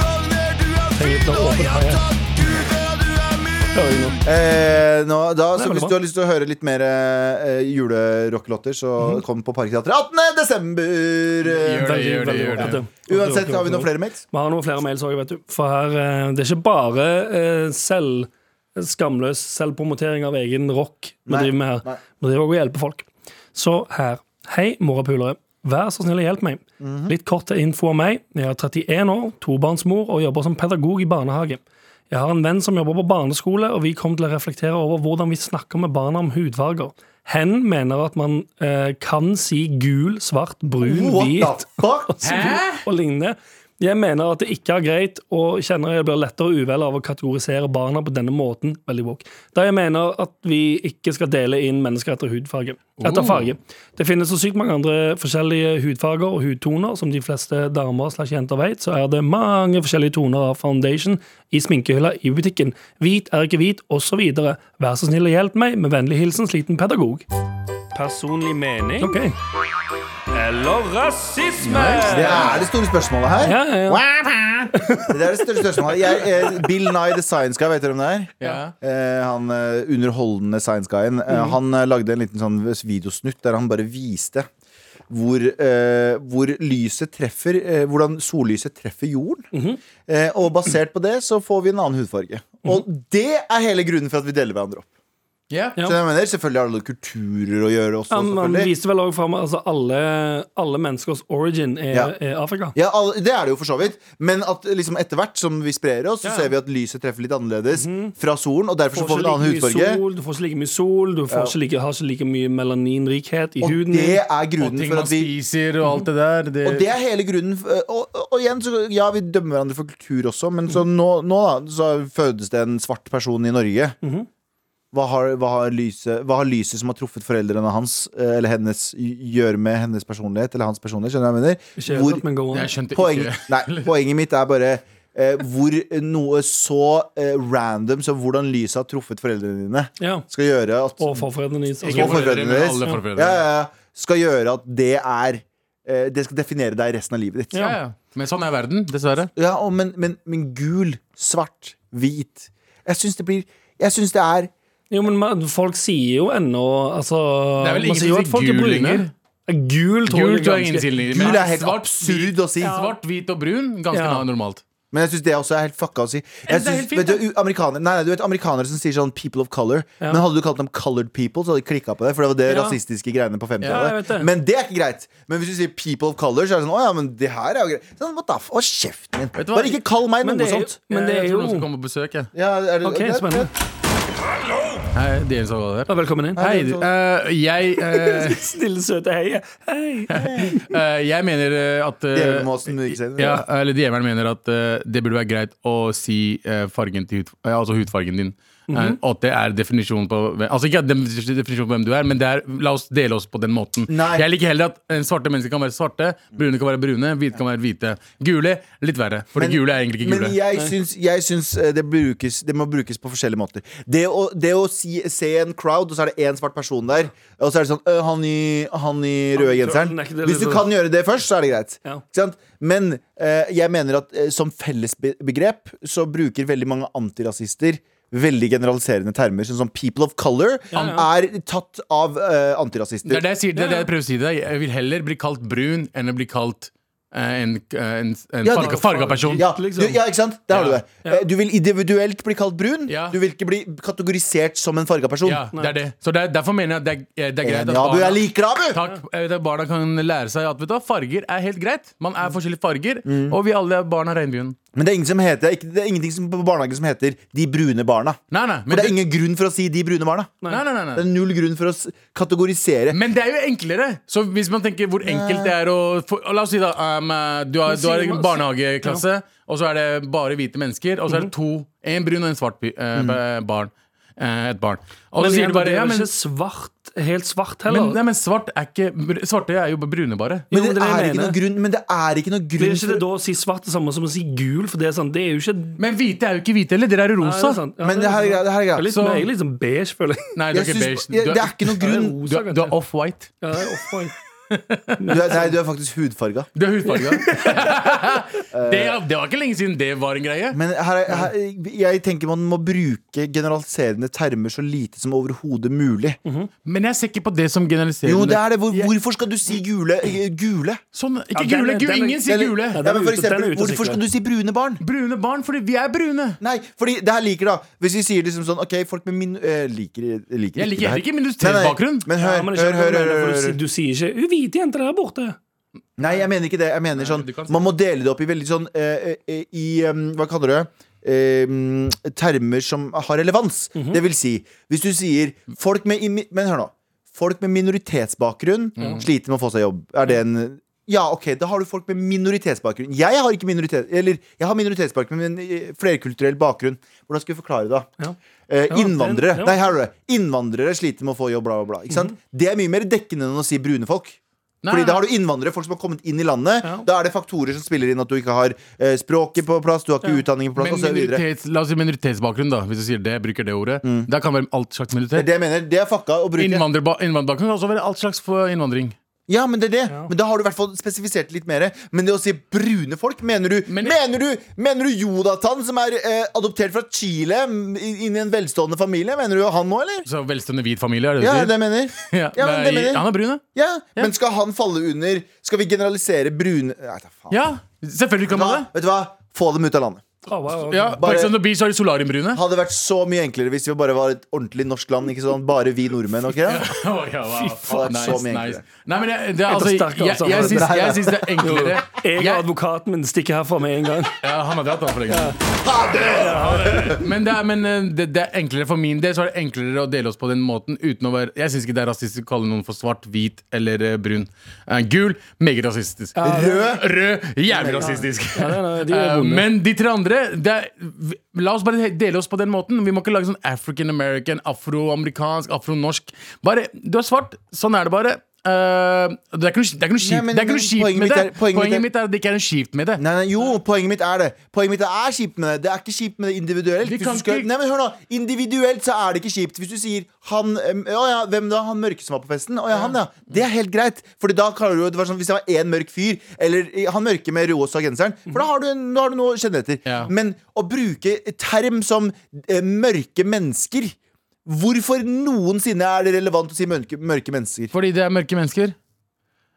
G: Frogner, du er
C: Tenk litt
G: fin,
C: nå,
G: og
C: åpen
G: ja
C: hage.
G: takk Gud for at du er min.
C: Hører jeg nå.
D: Eh, nå, da, så
C: veldig
D: hvis
C: bra.
D: du har lyst til å høre litt mer eh, julerockelåter, så
C: Mhm.
D: kom på Parkteatret 18.12.
C: Veldig,
E: Gjør det, gjør det,
C: veldig
E: gjør det.
C: rockete.
D: Eh, Uansett, har vi noen flere mails?
C: Vi har noen flere mails òg, vet du. For her, eh, det er ikke bare eh, selv skamløs selvpromotering av egen rock vi
D: Nei,
C: driver med
D: nei.
C: her. Vi driver også og hjelper folk. Så her. Hei, morapulere. Vær så snill og hjelp meg.
D: Mhm.
C: Litt kort til info om meg. Jeg er 31 år, tobarnsmor og jobber som pedagog i barnehage. Jeg har en venn som jobber på barneskole, og vi kom til å reflektere over hvordan vi snakker med barna om hudfarger. Hen mener at man eh, kan si gul, svart, brun, hvit
D: What the fuck?
C: og lignende. Jeg mener at det ikke er greit, og kjenner jeg blir lettere uvel av å kategorisere barna på denne måten. veldig woke. Da jeg mener at vi ikke skal dele inn mennesker etter hudfarge. Etter farge. Det finnes så sykt mange andre forskjellige hudfarger og hudtoner. Som de fleste damer slash jenter vet, så er det mange forskjellige toner av foundation i sminkehylla i butikken. Hvit er ikke hvit, osv. Vær så snill og hjelp meg. Med vennlig hilsen sliten pedagog. Personlig mening eller rasisme?
D: Det er det store spørsmålet her.
C: Ja, ja, ja.
D: Det er det største spørsmålet jeg, eh, Bill Nye the Science Guy, vet dere hvem det er?
E: Ja.
D: Eh, han eh, underholdende science guyen. Eh,
C: Mm.
D: Han eh, lagde en liten sånn videosnutt der han bare viste hvor, eh, hvor lyset treffer eh, Hvordan sollyset treffer jorden.
C: Mhm.
D: eh, og basert på det så får vi en annen hudfarge. Og det er hele grunnen for at vi deler hverandre opp.
E: Ja.
C: Ja.
D: Så jeg mener, Selvfølgelig har det noen kulturer å gjøre også.
C: Ja, men han
D: selvfølgelig.
C: viste vel også fram altså alle, alle menneskers origin er,
D: Ja.
C: er Afrika.
D: Ja, all- Det er det jo for så vidt. Men at liksom etter hvert som vi sprer oss, så
C: Ja. Mhm.
D: ser vi at lyset treffer litt annerledes fra solen. Og derfor så får vi en annen
C: like mye
D: hudfarge.
C: sol, du får ikke like mye sol, du får ikke like, har ikke like mye melaninrikhet i
D: Og
C: huden. din.
D: det er
E: Og
D: grunnen
E: ting
D: for
E: man
D: at vi
E: spiser og alt det der. Det,
D: Og det er hele grunnen f- eh, og, og, og igjen, så ja, vi dømmer hverandre for kultur også, men så nå, nå da, så fødes det en svart person i Norge. Hva har, hva, har lyset, hva har lyset som har truffet foreldrene hans eh, Eller hennes gjøre med hennes personlighet Eller hans personlighet, skjønner du hva jeg mener?
C: Ikke helt sant,
D: Hvor,
C: men go on.
E: jeg skjønte
D: poeng,
E: ikke
D: nei, poenget mitt er bare eh, Hvor noe så eh, random Som hvordan lyset har truffet foreldrene dine
C: Ja.
D: Skal gjøre at
C: Og forfedrene dine.
E: Ikke
D: Og
C: Altså,
E: foreldre,
D: forfedrene
E: men
D: deres.
E: alle forfedre.
D: ja, ja, ja, Skal gjøre at det er eh, Det skal definere deg resten av livet ditt
E: Ja, ja. Men sånn er verden, dessverre.
D: Ja, og men, men, men gul, svart, hvit Jeg syns det blir Jeg syns det er
C: jo, men man- folk sier jo ennå altså,
E: Det er vel
C: man
E: ingen
C: sier jo at
E: som sier
C: folk er
E: gul
C: brune.
E: lenger.
C: Ja, Gul tror jeg
E: Gul tror jeg
C: ganske-
E: ingen sier
D: Gul er helt
E: svart,
D: absurd å si.
E: Svart, hvit og brun, ganske
C: Ja.
E: na- normalt.
D: Men jeg syns det også er helt fucka å si. Jeg
E: det er
D: synes,
E: helt fint,
D: vet du, amerikanere, nei, nei, du vet amerikanere som sier sånn 'people of color', men hadde du kalt dem 'colored people', så hadde de klikka på deg. For det var det
C: Ja.
D: rasistiske greiene på
C: Ja, jeg
D: 50-tallet.
C: vet det.
D: men det er ikke greit. Men hvis du sier 'people of color', så er det sånn 'å ja, men det her er jo greit'. Sånn, what the f... Å, kjeften din.
E: du hva?
D: Bare ikke kall meg
C: Men
D: noe
C: det er jo,
D: sånt.
C: men det
E: jeg
C: er
E: tror noen
C: jo
E: skal komme på besøk, jeg.
D: Ja, er det,
C: OK,
D: det-
C: spennende.
E: Hei, det er en sånn der.
C: Ja, velkommen inn.
E: Hei, eh, jeg eh,
C: Snille, søte heie. Hei.
E: eh, Jeg mener eh, at eh,
D: Djevelen må også smyge seg inn.
E: ja, eller djevelen mener at eh, det burde være greit å si eh, fargen til hud, eh, altså hudfargen din. Eh,
D: Mhm.
E: og at det er definisjonen på hvem- Altså ikke at det er definisjonen på hvem du er, men det er, la oss dele oss på den måten.
D: Nei.
E: Jeg liker heller at eh, svarte mennesker kan være svarte, brune kan være brune, hvite kan være hvite. Gule litt verre, for
D: Men-
E: gule er egentlig ikke gule.
D: Men jeg syns, jeg syns eh, det, brukes, det må brukes på forskjellige måter. Det å, det å si, se en crowd, og så er det én svart person der, og så er det sånn «Øh, han, i, han i røde genseren. Hvis du kan gjøre det først, så er det greit.
C: Ja.
D: Ikke sant? Men eh, jeg mener at eh, som fellesbegrep så bruker veldig mange antirasister veldig generaliserende termer. Sånn som people of color er tatt av eh, antirasister.
E: Det er det jeg sier, det er det jeg prøver å si til deg. Jeg vil heller bli kalt brun enn å bli kalt eh, en, en, en
D: Ja, det-
E: farga, farga person.
D: Ja,
C: liksom.
D: du, ja, ikke sant? Der har du
E: Ja.
D: det. Eh, Du vil individuelt bli kalt brun.
E: Ja.
D: Du vil ikke bli kategorisert som en farga person.
E: Ja, det er det. Så det er, derfor mener jeg at det er, det er greit
D: Enig,
E: at
D: Abu. Jeg
E: barna,
D: liker deg, Abu!
E: takk, eh, at barna kan lære seg at vet du, hva, farger er helt greit. Man er forskjellige farger, og vi alle er barn av regnbuen.
D: Men det er, ingen som heter, ikke- det er ingenting som, på barnehagen som heter 'de brune barna'.
E: Nei, nei,
D: For
E: men
D: det er ingen grunn for å si 'de brune barna'.
E: nei, nei, nei,
D: Det
E: nei.
D: er null grunn for å s- kategorisere.
E: Men det er jo enklere! Så hvis man tenker hvor enkelt det er å for, og La oss si da um, eh, du har, du har en barnehageklasse, og så er det bare hvite mennesker, og så er det to En brun og en svart by- eh, barn. Eh, et barn. Og så
C: Men
E: sier
C: igjen,
E: du bare
C: det
E: ja,
C: er
E: men
C: jo ikke svart, helt svart
E: Men,
C: heller.
E: nei, men svart er ikke br- Svarte er jo brune, bare.
C: Jo,
D: Men det,
C: men det er det
D: er
C: jeg
D: ikke noe
C: mener.
D: grunn, men det er ikke noe
C: Blir
D: grunn
C: ikke det da å si svart det samme som å si gul? For det er sånn, det er jo ikke
E: Men hvite er jo ikke hvite heller, dere er jo
C: Nei, det
E: rosa.
C: er sant. Ja,
D: Men det her er
C: sant.
D: greia. Det her er
C: Jeg er
D: greia.
C: litt,
E: Så-
C: mer- jeg er litt sånn beige, føler jeg.
E: Nei, du
D: Jeg
E: er ikke
D: synes-
E: beige.
D: jeg-
E: Du
D: det
E: er,
D: er ikke noe grunn.
C: rosa,
E: du er, du er
C: kanskje.
E: off-white.
C: Ja, det er off-white.
D: Du er, nei, du er faktisk hudfarga.
E: Du er hudfarga. det, er- det var ikke lenge siden det var en greie.
D: Men her, er- her, jeg tenker man må bruke generaliserende termer så lite som overhodet mulig.
E: Men jeg ser ikke på det som generaliserende.
D: Jo, det er det. Hvor, hvorfor skal du si gule? gule?
E: Sånn,
C: Ja,
E: ikke
C: den er-
E: gule. Gul,
C: den er-
E: ingen sier
C: den er-
E: gule.
C: ja, den
D: Ja, men for
C: ute- den er
D: eksempel,
C: ute å
D: hvorfor
C: sykle.
D: skal du si brune barn?
E: Brune barn, fordi vi er brune.
D: Nei, fordi det her liker da Hvis vi sier liksom sånn, ok, folk med min eh, liker, liker
E: Jeg
D: ikke det
E: liker
D: her.
E: heller ikke
D: Nei, nei,
E: minoritetsbakgrunn.
D: Men hør,
C: Ja, men det
D: hør,
C: skjønner
D: hør, hør,
C: jeg hva du mener,
D: hør, hør.
C: for du sier- Du sier ikke 'u, hvite jenter der borte'.
D: Nei, jeg mener ikke det. Jeg mener sånn
E: du kan si-
D: Man må dele det opp i veldig sånn eh, eh, I em, Hva kaller du det? Em, termer som har relevans. Det vil si, hvis du sier folk med imi- Men hør nå. Folk med minoritetsbakgrunn sliter med å få seg jobb. Er det en ja, ok, da har du folk med minoritetsbakgrunn. Jeg har ikke minoritet, eller jeg har minoritetsbakgrunn, men eh, flerkulturell bakgrunn. Hvordan skal vi forklare det? da?
C: Ja.
D: Eh,
C: Ja,
D: innvandrere
C: den- ja.
D: Nei, her er det. Innvandrere sliter med å få jobb, bla, bla, bla. Ikke
E: Mhm.
D: sant? Det er mye mer dekkende enn å si brune folk.
E: Nei,
D: Fordi
E: nei.
D: da har du innvandrere, folk som har kommet inn i landet.
C: Ja.
D: Da er det faktorer som spiller inn at du ikke har eh, språket på plass, du har ikke utdanningen på plass,
E: Men
D: og så videre Mm.
E: minoritets, la oss si minoritetsbakgrunn, da. Hvis du sier det, bruker det ordet. Da kan være alt
D: Det
E: slags
D: er
E: minoritet.
D: det jeg mener. Det er fucka å bruke.
E: Innvandrerba- Innvandrerbakgrunn kan også være alt slags for innvandring.
D: Ja, men det er det. Men da har du i hvert fall spesifisert litt mer. Men det å si brune folk, mener du
E: Men-
D: Mener du, mener du Jonathan, som er eh, adoptert fra Chile, m- inn i en velstående familie? Mener du han nå, eller?
E: Så velstående hvit familie, er det du
D: Ja,
E: sier?
D: det mener
E: Ja,
D: Ja, men det mener
E: nei,
D: jeg.
E: Han er brun, ja.
D: Ja, men skal han falle under Skal vi generalisere brune Nei, da faen.
E: ja. Selvfølgelig
D: Hva?
E: kan man det.
D: Vet du hva? Få dem ut av landet.
C: Å, wow, ok.
E: Ja,
D: Bare-
E: På Ex on the Beach har de solariumbrune.
D: Hadde vært så mye enklere hvis vi bare var et ordentlig norsk land. Ikke sånn bare vi nordmenn. ok?
E: Å, ja, wow.
D: faen, det er så
E: Nice,
D: mye
E: nice.
D: enklere.
E: Nei, men jeg, det er, altså,
C: sterkere,
E: jeg,
C: altså.
E: jeg, syns,
D: Det her, ja.
E: jeg syns det er enklere.
C: Jeg og
E: Jeg,
C: advokaten min stikker herfra med en gang.
E: ja, han har dratt da for lenge. Men, det er, men eh, det, det er enklere for min del Så er det enklere å dele oss på den måten uten å være Jeg syns ikke det er rasistisk å kalle noen for svart, hvit eller eh, brun. Eh, gul meget rasistisk. Rød rød jævlig rasistisk.
C: nei, nei, de er
E: Eh,
C: vonde.
E: men de tre andre det er, vi- La oss bare he- dele oss på den måten. Vi må ikke lage sånn African American, afroamerikansk, afronorsk. Bare, Du er svart. Sånn er det bare. Eh, det er ikke noe skipt- det er ikke noe
D: Nei,
E: skipt
D: men-
E: det er ikke noe
D: men
E: skipt
D: poenget
E: med
D: mitt
E: det.
D: er- poenget mitt er-
E: Poenget mitt er at det ikke er noe skipt med det.
D: Nei, nei, jo, poenget mitt er det. Poenget mitt er kjipt med det. Det er ikke kjipt med det individuelt.
E: Vi
D: Hvis
E: kan
D: du skal,
E: ikke-
D: nei, men hør nå, Individuelt så er det ikke kjipt. Hvis du sier han em, Å ja, hvem da? Han mørke som var på festen? Å ja, han, ja. Det er helt greit. Fordi da klarer du det var sånn, Hvis det var én mørk fyr, eller eh, han mørke med rosa genseren, for da har du, en- da har du noe å kjenne etter.
E: Mhm. Ja.
D: Men å bruke term som eh, mørke mennesker Hvorfor noensinne er det relevant å si mørke, mørke mennesker?
E: Fordi det er mørke mennesker.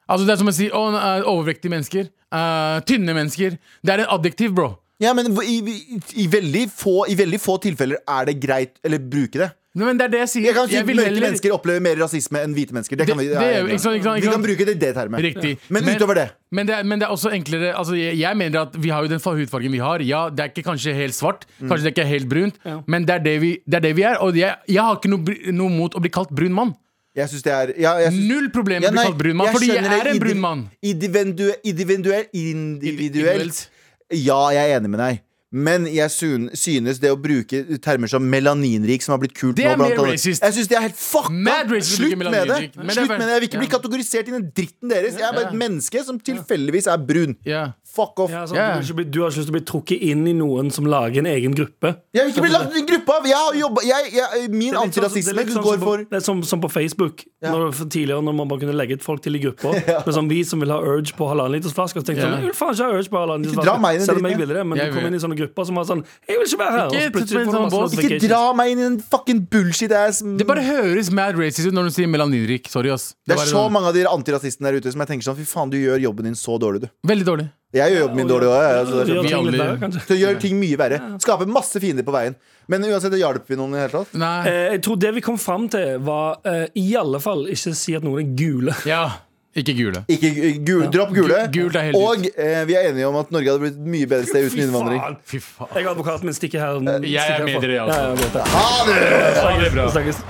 E: Altså Det er som å si å, eh, overvektige mennesker. eh, tynne mennesker. Det er en adjektiv, bro.
D: Ja, men i, i, i, veldig få, I veldig få tilfeller er det greit Eller bruke det.
E: Nei, Men det er det jeg sier.
D: Jeg kan si
E: vil
D: Mørke
E: heller-
D: mennesker opplever mer rasisme enn hvite mennesker. Det kan
E: Det-
D: vi,
E: det er jo- ikke sant, ikke sant, ikke
D: vi
E: sant.
D: kan bruke det i det termet.
E: Riktig.
D: Men utover det.
E: Men det, er, men det er også enklere altså jeg, jeg mener at vi har jo den fa- hudfargen vi har. Ja, Det er ikke kanskje helt svart,
D: Mm.
E: kanskje det ikke er helt brunt, men det er det vi, det er, det vi er. Og jeg, jeg har ikke noe, br- noe mot å bli kalt brun mann.
D: Jeg syns det er ja, jeg synes,
E: Null problem med å
D: nei,
E: bli kalt brun mann, fordi jeg
D: skjønner
E: er
D: det
E: en
D: indiv-
E: brun mann.
D: Individue, individue, individuelt.
E: Individuelt.
D: Ja, jeg er enig med deg. Men jeg syn- synes det å bruke termer som melaninrik, som har blitt kult
E: Det
D: nå
E: er
D: blant
E: mer
D: annet-
E: racist.
D: Jeg synes det er helt
E: Mad
D: fucka!
E: racist å bruke
D: Slutt med det.
E: melaninrik. Men det er
D: Slutt
E: vel-
D: med det. Jeg vil ikke bli
E: Ja.
D: kategorisert i den dritten deres. Jeg er bare
E: Ja.
D: et menneske som tilfeldigvis er brun.
E: Ja.
D: Fuck off.
C: Ja, sånn,
E: Ja.
C: du, vil ikke bli, du har ikke lyst til å bli trukket inn i noen som lager en egen gruppe.
D: Jeg vil ikke bli lagt i en gruppe av! Jeg har jobbet- jeg, jeg, min
C: Det er litt sånn- det er
D: antirasisme
C: litt sånn
D: går
C: som,
D: for
C: Det er som, som på Facebook. Når, for tidligere når man bare kunne legge ut folk til i grupper. Men som vi som vil ha Urge på halvannen liters flasker, så tenkte jeg sånn,
E: Ja.
C: jeg vil faen ikke ha Urge på halvannen liters
D: Ikke dra meg inn i
C: flasker. Selv om jeg
D: dritten,
C: ville det, men
E: Jeg
C: du kom
E: vil.
C: inn i sånne grupper som var sånn 'Jeg vil ikke være her!' og
E: Ikke
C: så plutselig
E: sett
C: får
E: på en
C: masse
E: sånn båt.
C: notifications.
D: Ikke dra meg inn i den fucking bullshit-ass
E: Det bare høres mad racist ut når du sier melaninrik. Sorry, ass.
D: Det er
E: bare
D: så
E: sånn-
D: mange av de antirasistene der ute som jeg tenker sånn Fy faen, du gjør jobben din så dårlig, du.
E: Veldig dårlig.
D: Jeg gjør jobben min dårlig òg. Altså, det er
C: Gjør
D: sånn.
E: Vi
C: ting litt
E: alle-
C: verre, kanskje.
D: så gjør ting mye verre. Skaper masse fiender på veien. Men uansett, det hjalp vi noen i det hele tatt?
E: Nei.
C: Eh, Jeg tror det vi kom fram til, var eh, i alle fall ikke si at noen er gule.
E: Ja. Ikke gule.
D: Ikke eh, gul, Dropp gule.
E: Gu- gult er helt
D: og eh, vi er enige om at Norge hadde blitt et mye bedre sted uten innvandring. Eh,
E: Fy faen.
C: Jeg er advokat, men stikker her.
E: Jeg er med dere, altså.
C: Ja, ja, vet det. Snakkes.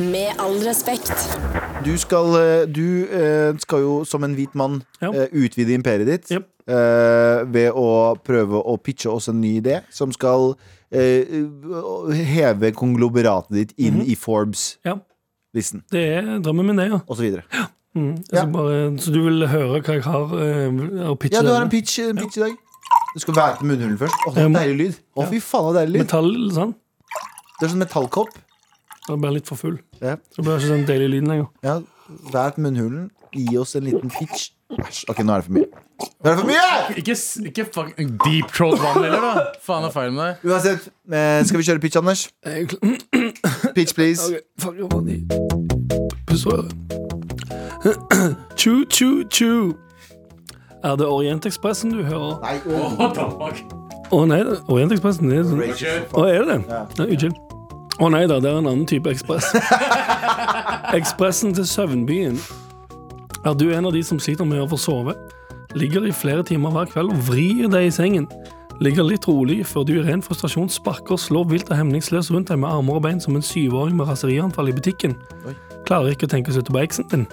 F: Med all respekt.
D: Du skal, eh, du, eh, skal jo som en hvit mann
C: Ja.
D: eh, utvide imperiet ditt
C: Jep.
D: eh, ved å prøve å pitche oss en ny idé som skal eh, heve konglomeratet ditt inn i Forbes-listen,
C: Ja, det er drømmen min, det, ja.
D: osv.
C: Mm. Jeg
D: Ja.
C: skal bare, så du vil høre hva jeg har eh, å pitche?
D: Ja, du har
C: denne?
D: en pitch, en pitch i dag. Du skal være til munnhulen først. Åh, det
C: Jeg
D: er
C: må-
D: deilig lyd. Å, fy faen, det er deilig lyd.
C: Metall, sånn.
D: Det er sånn metallkopp.
C: Jeg blir litt for full.
D: Ja.
C: Så blir det ikke sånn deilig lyd lenger.
D: Ja, vær til munnhulen. Gi oss en liten pitch. Æsj. Ok, nå er det for mye. Nå er det for mye!
E: Ikke, s- ikke fuck deep throat vann heller, da. Faen er feil med deg.
D: Uansett, eh, skal vi kjøre pitch, Anders?
C: Jeg er klar.
D: Pitch, please.
C: Ok, fuck, jeg må ned. Pussrøret. Tju, tju, tju. Er det Orientekspressen du hører?
D: Nei, åh.
C: Å nei, da, Orientekspressen det er sånn. Å, er det det? Nei, Unnskyld. Å nei da, det er en annen type ekspress. Ekspressen til søvnbyen. Er du en av de som sliter med å få sove? Ligger i flere timer hver kveld og vrir deg i sengen. Ligger litt rolig før du i ren frustrasjon sparker og slår vilt og hemningsløst rundt deg med armer og bein som en syvåring med raserianfall i butikken. Klarer ikke å tenke seg ut på eksen din.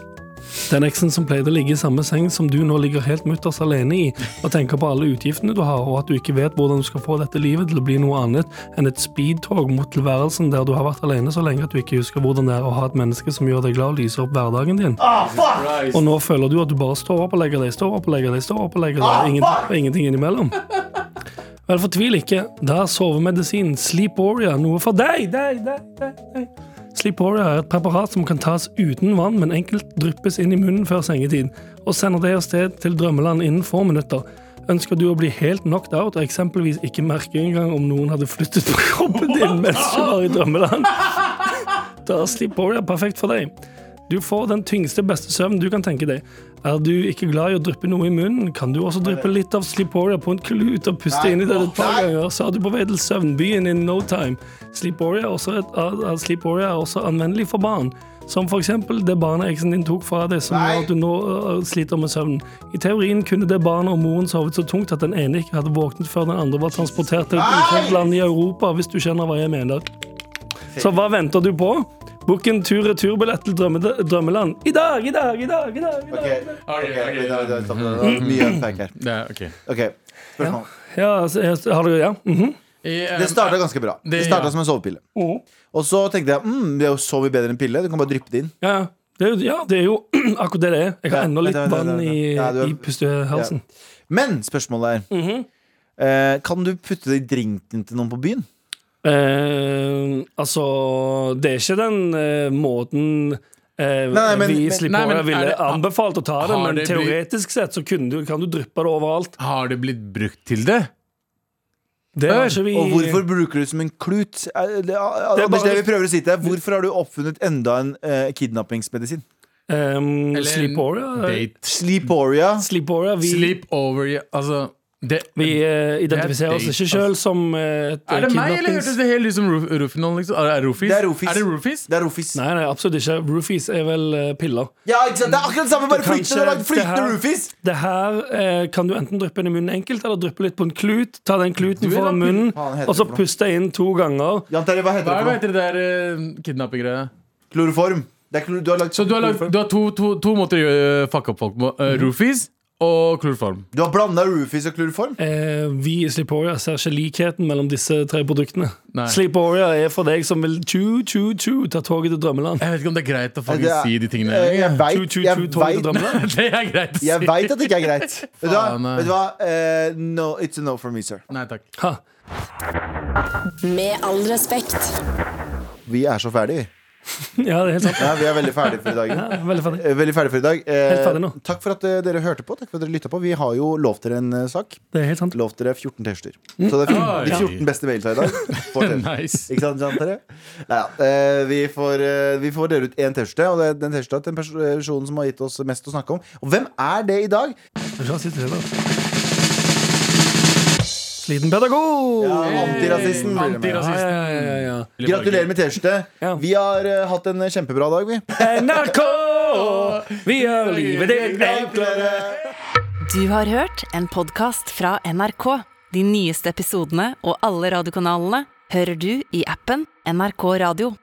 C: Den eksen som pleide å ligge i samme seng som du nå ligger helt mutters alene i, og tenker på alle utgiftene du har, og at du ikke vet hvordan du skal få dette livet til å bli noe annet enn et speedtog mot tilværelsen der du har vært alene så lenge at du ikke husker hvordan det er å ha et menneske som gjør deg glad og lyser opp hverdagen din. Og nå føler du at du bare står opp og legger deg, står opp og legger deg, står opp og legger deg. Ingen, og ingenting innimellom. Vel, fortvil ikke. Da er sovemedisin Sleeporia noe for deg, deg, deg, deg. deg. Sleeporia er et preparat som kan tas uten vann, men enkelt dryppes inn i munnen før sengetid, og sender deg av sted til drømmeland innen få minutter. Ønsker du å bli helt knocked out og eksempelvis ikke merke engang om noen hadde flyttet på kroppen din mens du var i drømmeland? Da er Sleeporia perfekt for deg. Du får den tyngste, beste søvnen du kan tenke deg. Er du ikke glad i å dryppe noe i munnen, kan du også dryppe litt av Sleeporia på en klut og puste inn i den et par ganger, så er du på vei til søvnbyen in no time. Sleeporia er også, et, er, er Sleeporia er også anvendelig for barn. Som for eksempel det barnet eksen din tok fra deg, som gjør at du nå øh, sliter med søvnen. I teorien kunne det barnet og moren sovet så tungt at den ene ikke hadde våknet før den andre var transportert til et ukjent land i Europa, hvis du skjønner hva jeg mener. Så hva venter du på? Book en tur-retur-billett til drømme, drømmeland. I dag, i dag, i dag! i dag, i dag.
D: Ok, ok, ok, da- da- stopp, da- da- Mye unpack her.
E: Det er ok.
D: Ok, spørsmål.
C: Ja, altså, jeg- har du Ja. mhm.
E: I, eh,
D: Det starta ganske bra. Det
E: Det-
D: starta
E: ja.
D: som en sovepille.
C: Mhm.
D: Og så tenkte jeg mm, det er jo så mye bedre enn pille. Du kan bare dryppe det inn.
C: ja, ja. Det er, jo- ja, det er jo akkurat det det er. Jeg har
D: Ja,
C: ennå litt
D: vent, vent, vent,
C: vann
D: vent.
C: i,
D: Ja, du har-
C: i pustehalsen.
D: Men spørsmålet er eh, Kan du putte det i drinken til noen på byen?
C: Eh, altså, det er ikke den eh, måten eh,
D: Nei, nei, men-
C: vi
D: men-
C: slipper
E: Nei, men
C: å- Jeg ville
E: er det-
C: anbefalt å ta det,
E: Har
C: men
E: det blitt-
C: teoretisk sett så kunne du, kan du dryppe det overalt.
E: Har det blitt brukt til det?
C: Det har ikke vi
D: Og hvorfor bruker du det som en klut? Eh, Det, det, Anders, det
C: bare-
D: vi prøver å si til deg Hvorfor har du oppfunnet enda en eh, kidnappingsmedisin?
C: um,
E: Eller en
C: Sleeporia?
E: Date.
D: Sleeporia.
C: Sleeporia vi,
E: Sleep over ja, Altså, det
C: vi eh, identifiserer oss
E: date, altså.
C: ikke sjøl som eh, et
E: Er det meg, eller
C: kidnappings-
E: hørtes det helt ut som Ruf- Rufinon? Liksom? Er, er, Rufis?
D: Det er Rufis.
E: Er det Rufis?
D: Det er rofis.
C: Nei, nei, absolutt ikke. Roofies er vel eh, piller.
D: Ja, ikke sant? Det er akkurat det samme, bare
C: Det kan
D: flytende,
C: ikke-
D: lag- flytende
C: det her-
D: rofis.
C: Det her eh, kan du enten dryppe inn i munnen enkelt, eller dryppe litt på en klut. Ta den kluten
E: er
C: foran
E: da-
C: munnen,
D: Faen, heter
C: og
D: det
C: så
D: for noe?
C: puste inn to ganger.
D: Jan Terje, hva heter
E: Hva
D: det for
E: er det
D: noe?
E: heter det der uh, kidnappinggreia?
D: Kloroform. Det er klor, du har lagd
E: Så du har, lagt, du har to, to, to måter å gjøre fuck up folk på. Uh, Rufis og kloroform.
D: Du har blanda rufis og kloroform?
C: Eh, vi i Sleeporia ser ikke likheten mellom disse tre produktene.
E: Nei.
C: Sleeporia er for deg som vil tju, tju, tju, ta toget til drømmeland.
E: Jeg vet ikke om det er greit å
D: Det
E: faktisk
D: er-
E: si de tingene.
D: Eh, Jeg
C: Tju,
D: veit
C: tju,
D: jeg
C: tju, toget til
D: vet-
C: drømmeland.
E: det er greit å si.
D: jeg vet at det ikke er greit. Vet du hva?
E: Faen, nei.
D: Vet du hva? Eh, no, it's a no for me, sir.
E: Nei takk.
C: Ha.
F: Med all respekt.
D: Vi er så ferdige, vi.
C: Ja, det er helt sant.
D: Ja, vi er veldig ferdige for i dag.
C: Ja, veldig ferdig.
D: Eh, Veldig ferdig for i dag. Eh,
C: Helt ferdig nå.
D: Takk for at eh, dere hørte på. Takk for at dere lytta på. Vi har jo lovt dere en eh, sak.
C: Det er helt sant.
D: Lovt dere 14 T-skjorter.
C: Mm.
D: Så det er
C: Ah,
D: fjorten-
E: Oi.
D: de 14 beste mailsa i dag. får dere.
E: Nice.
D: Ikke sant, sant dere? Nei, ja. Eh, vi, får, eh, vi får dele ut én T-skjorte, og det er den T-skjorta til den pers- personen som har gitt oss mest å snakke om. Og hvem er det i dag?
C: Kanskje han sitter der, da. Sliten pedagog!
D: Ja, Antirasisten. blir det med.
E: Antirasist.
C: Ja, ja, ja, ja, ja.
D: Gratulerer med T-skjorte.
C: Ja.
D: Vi har eh, hatt en kjempebra dag, vi.
C: NRK! Vi gjør livet ditt enklere.
A: Du har hørt en podkast fra NRK. De nyeste episodene og alle radiokanalene hører du i appen NRK Radio.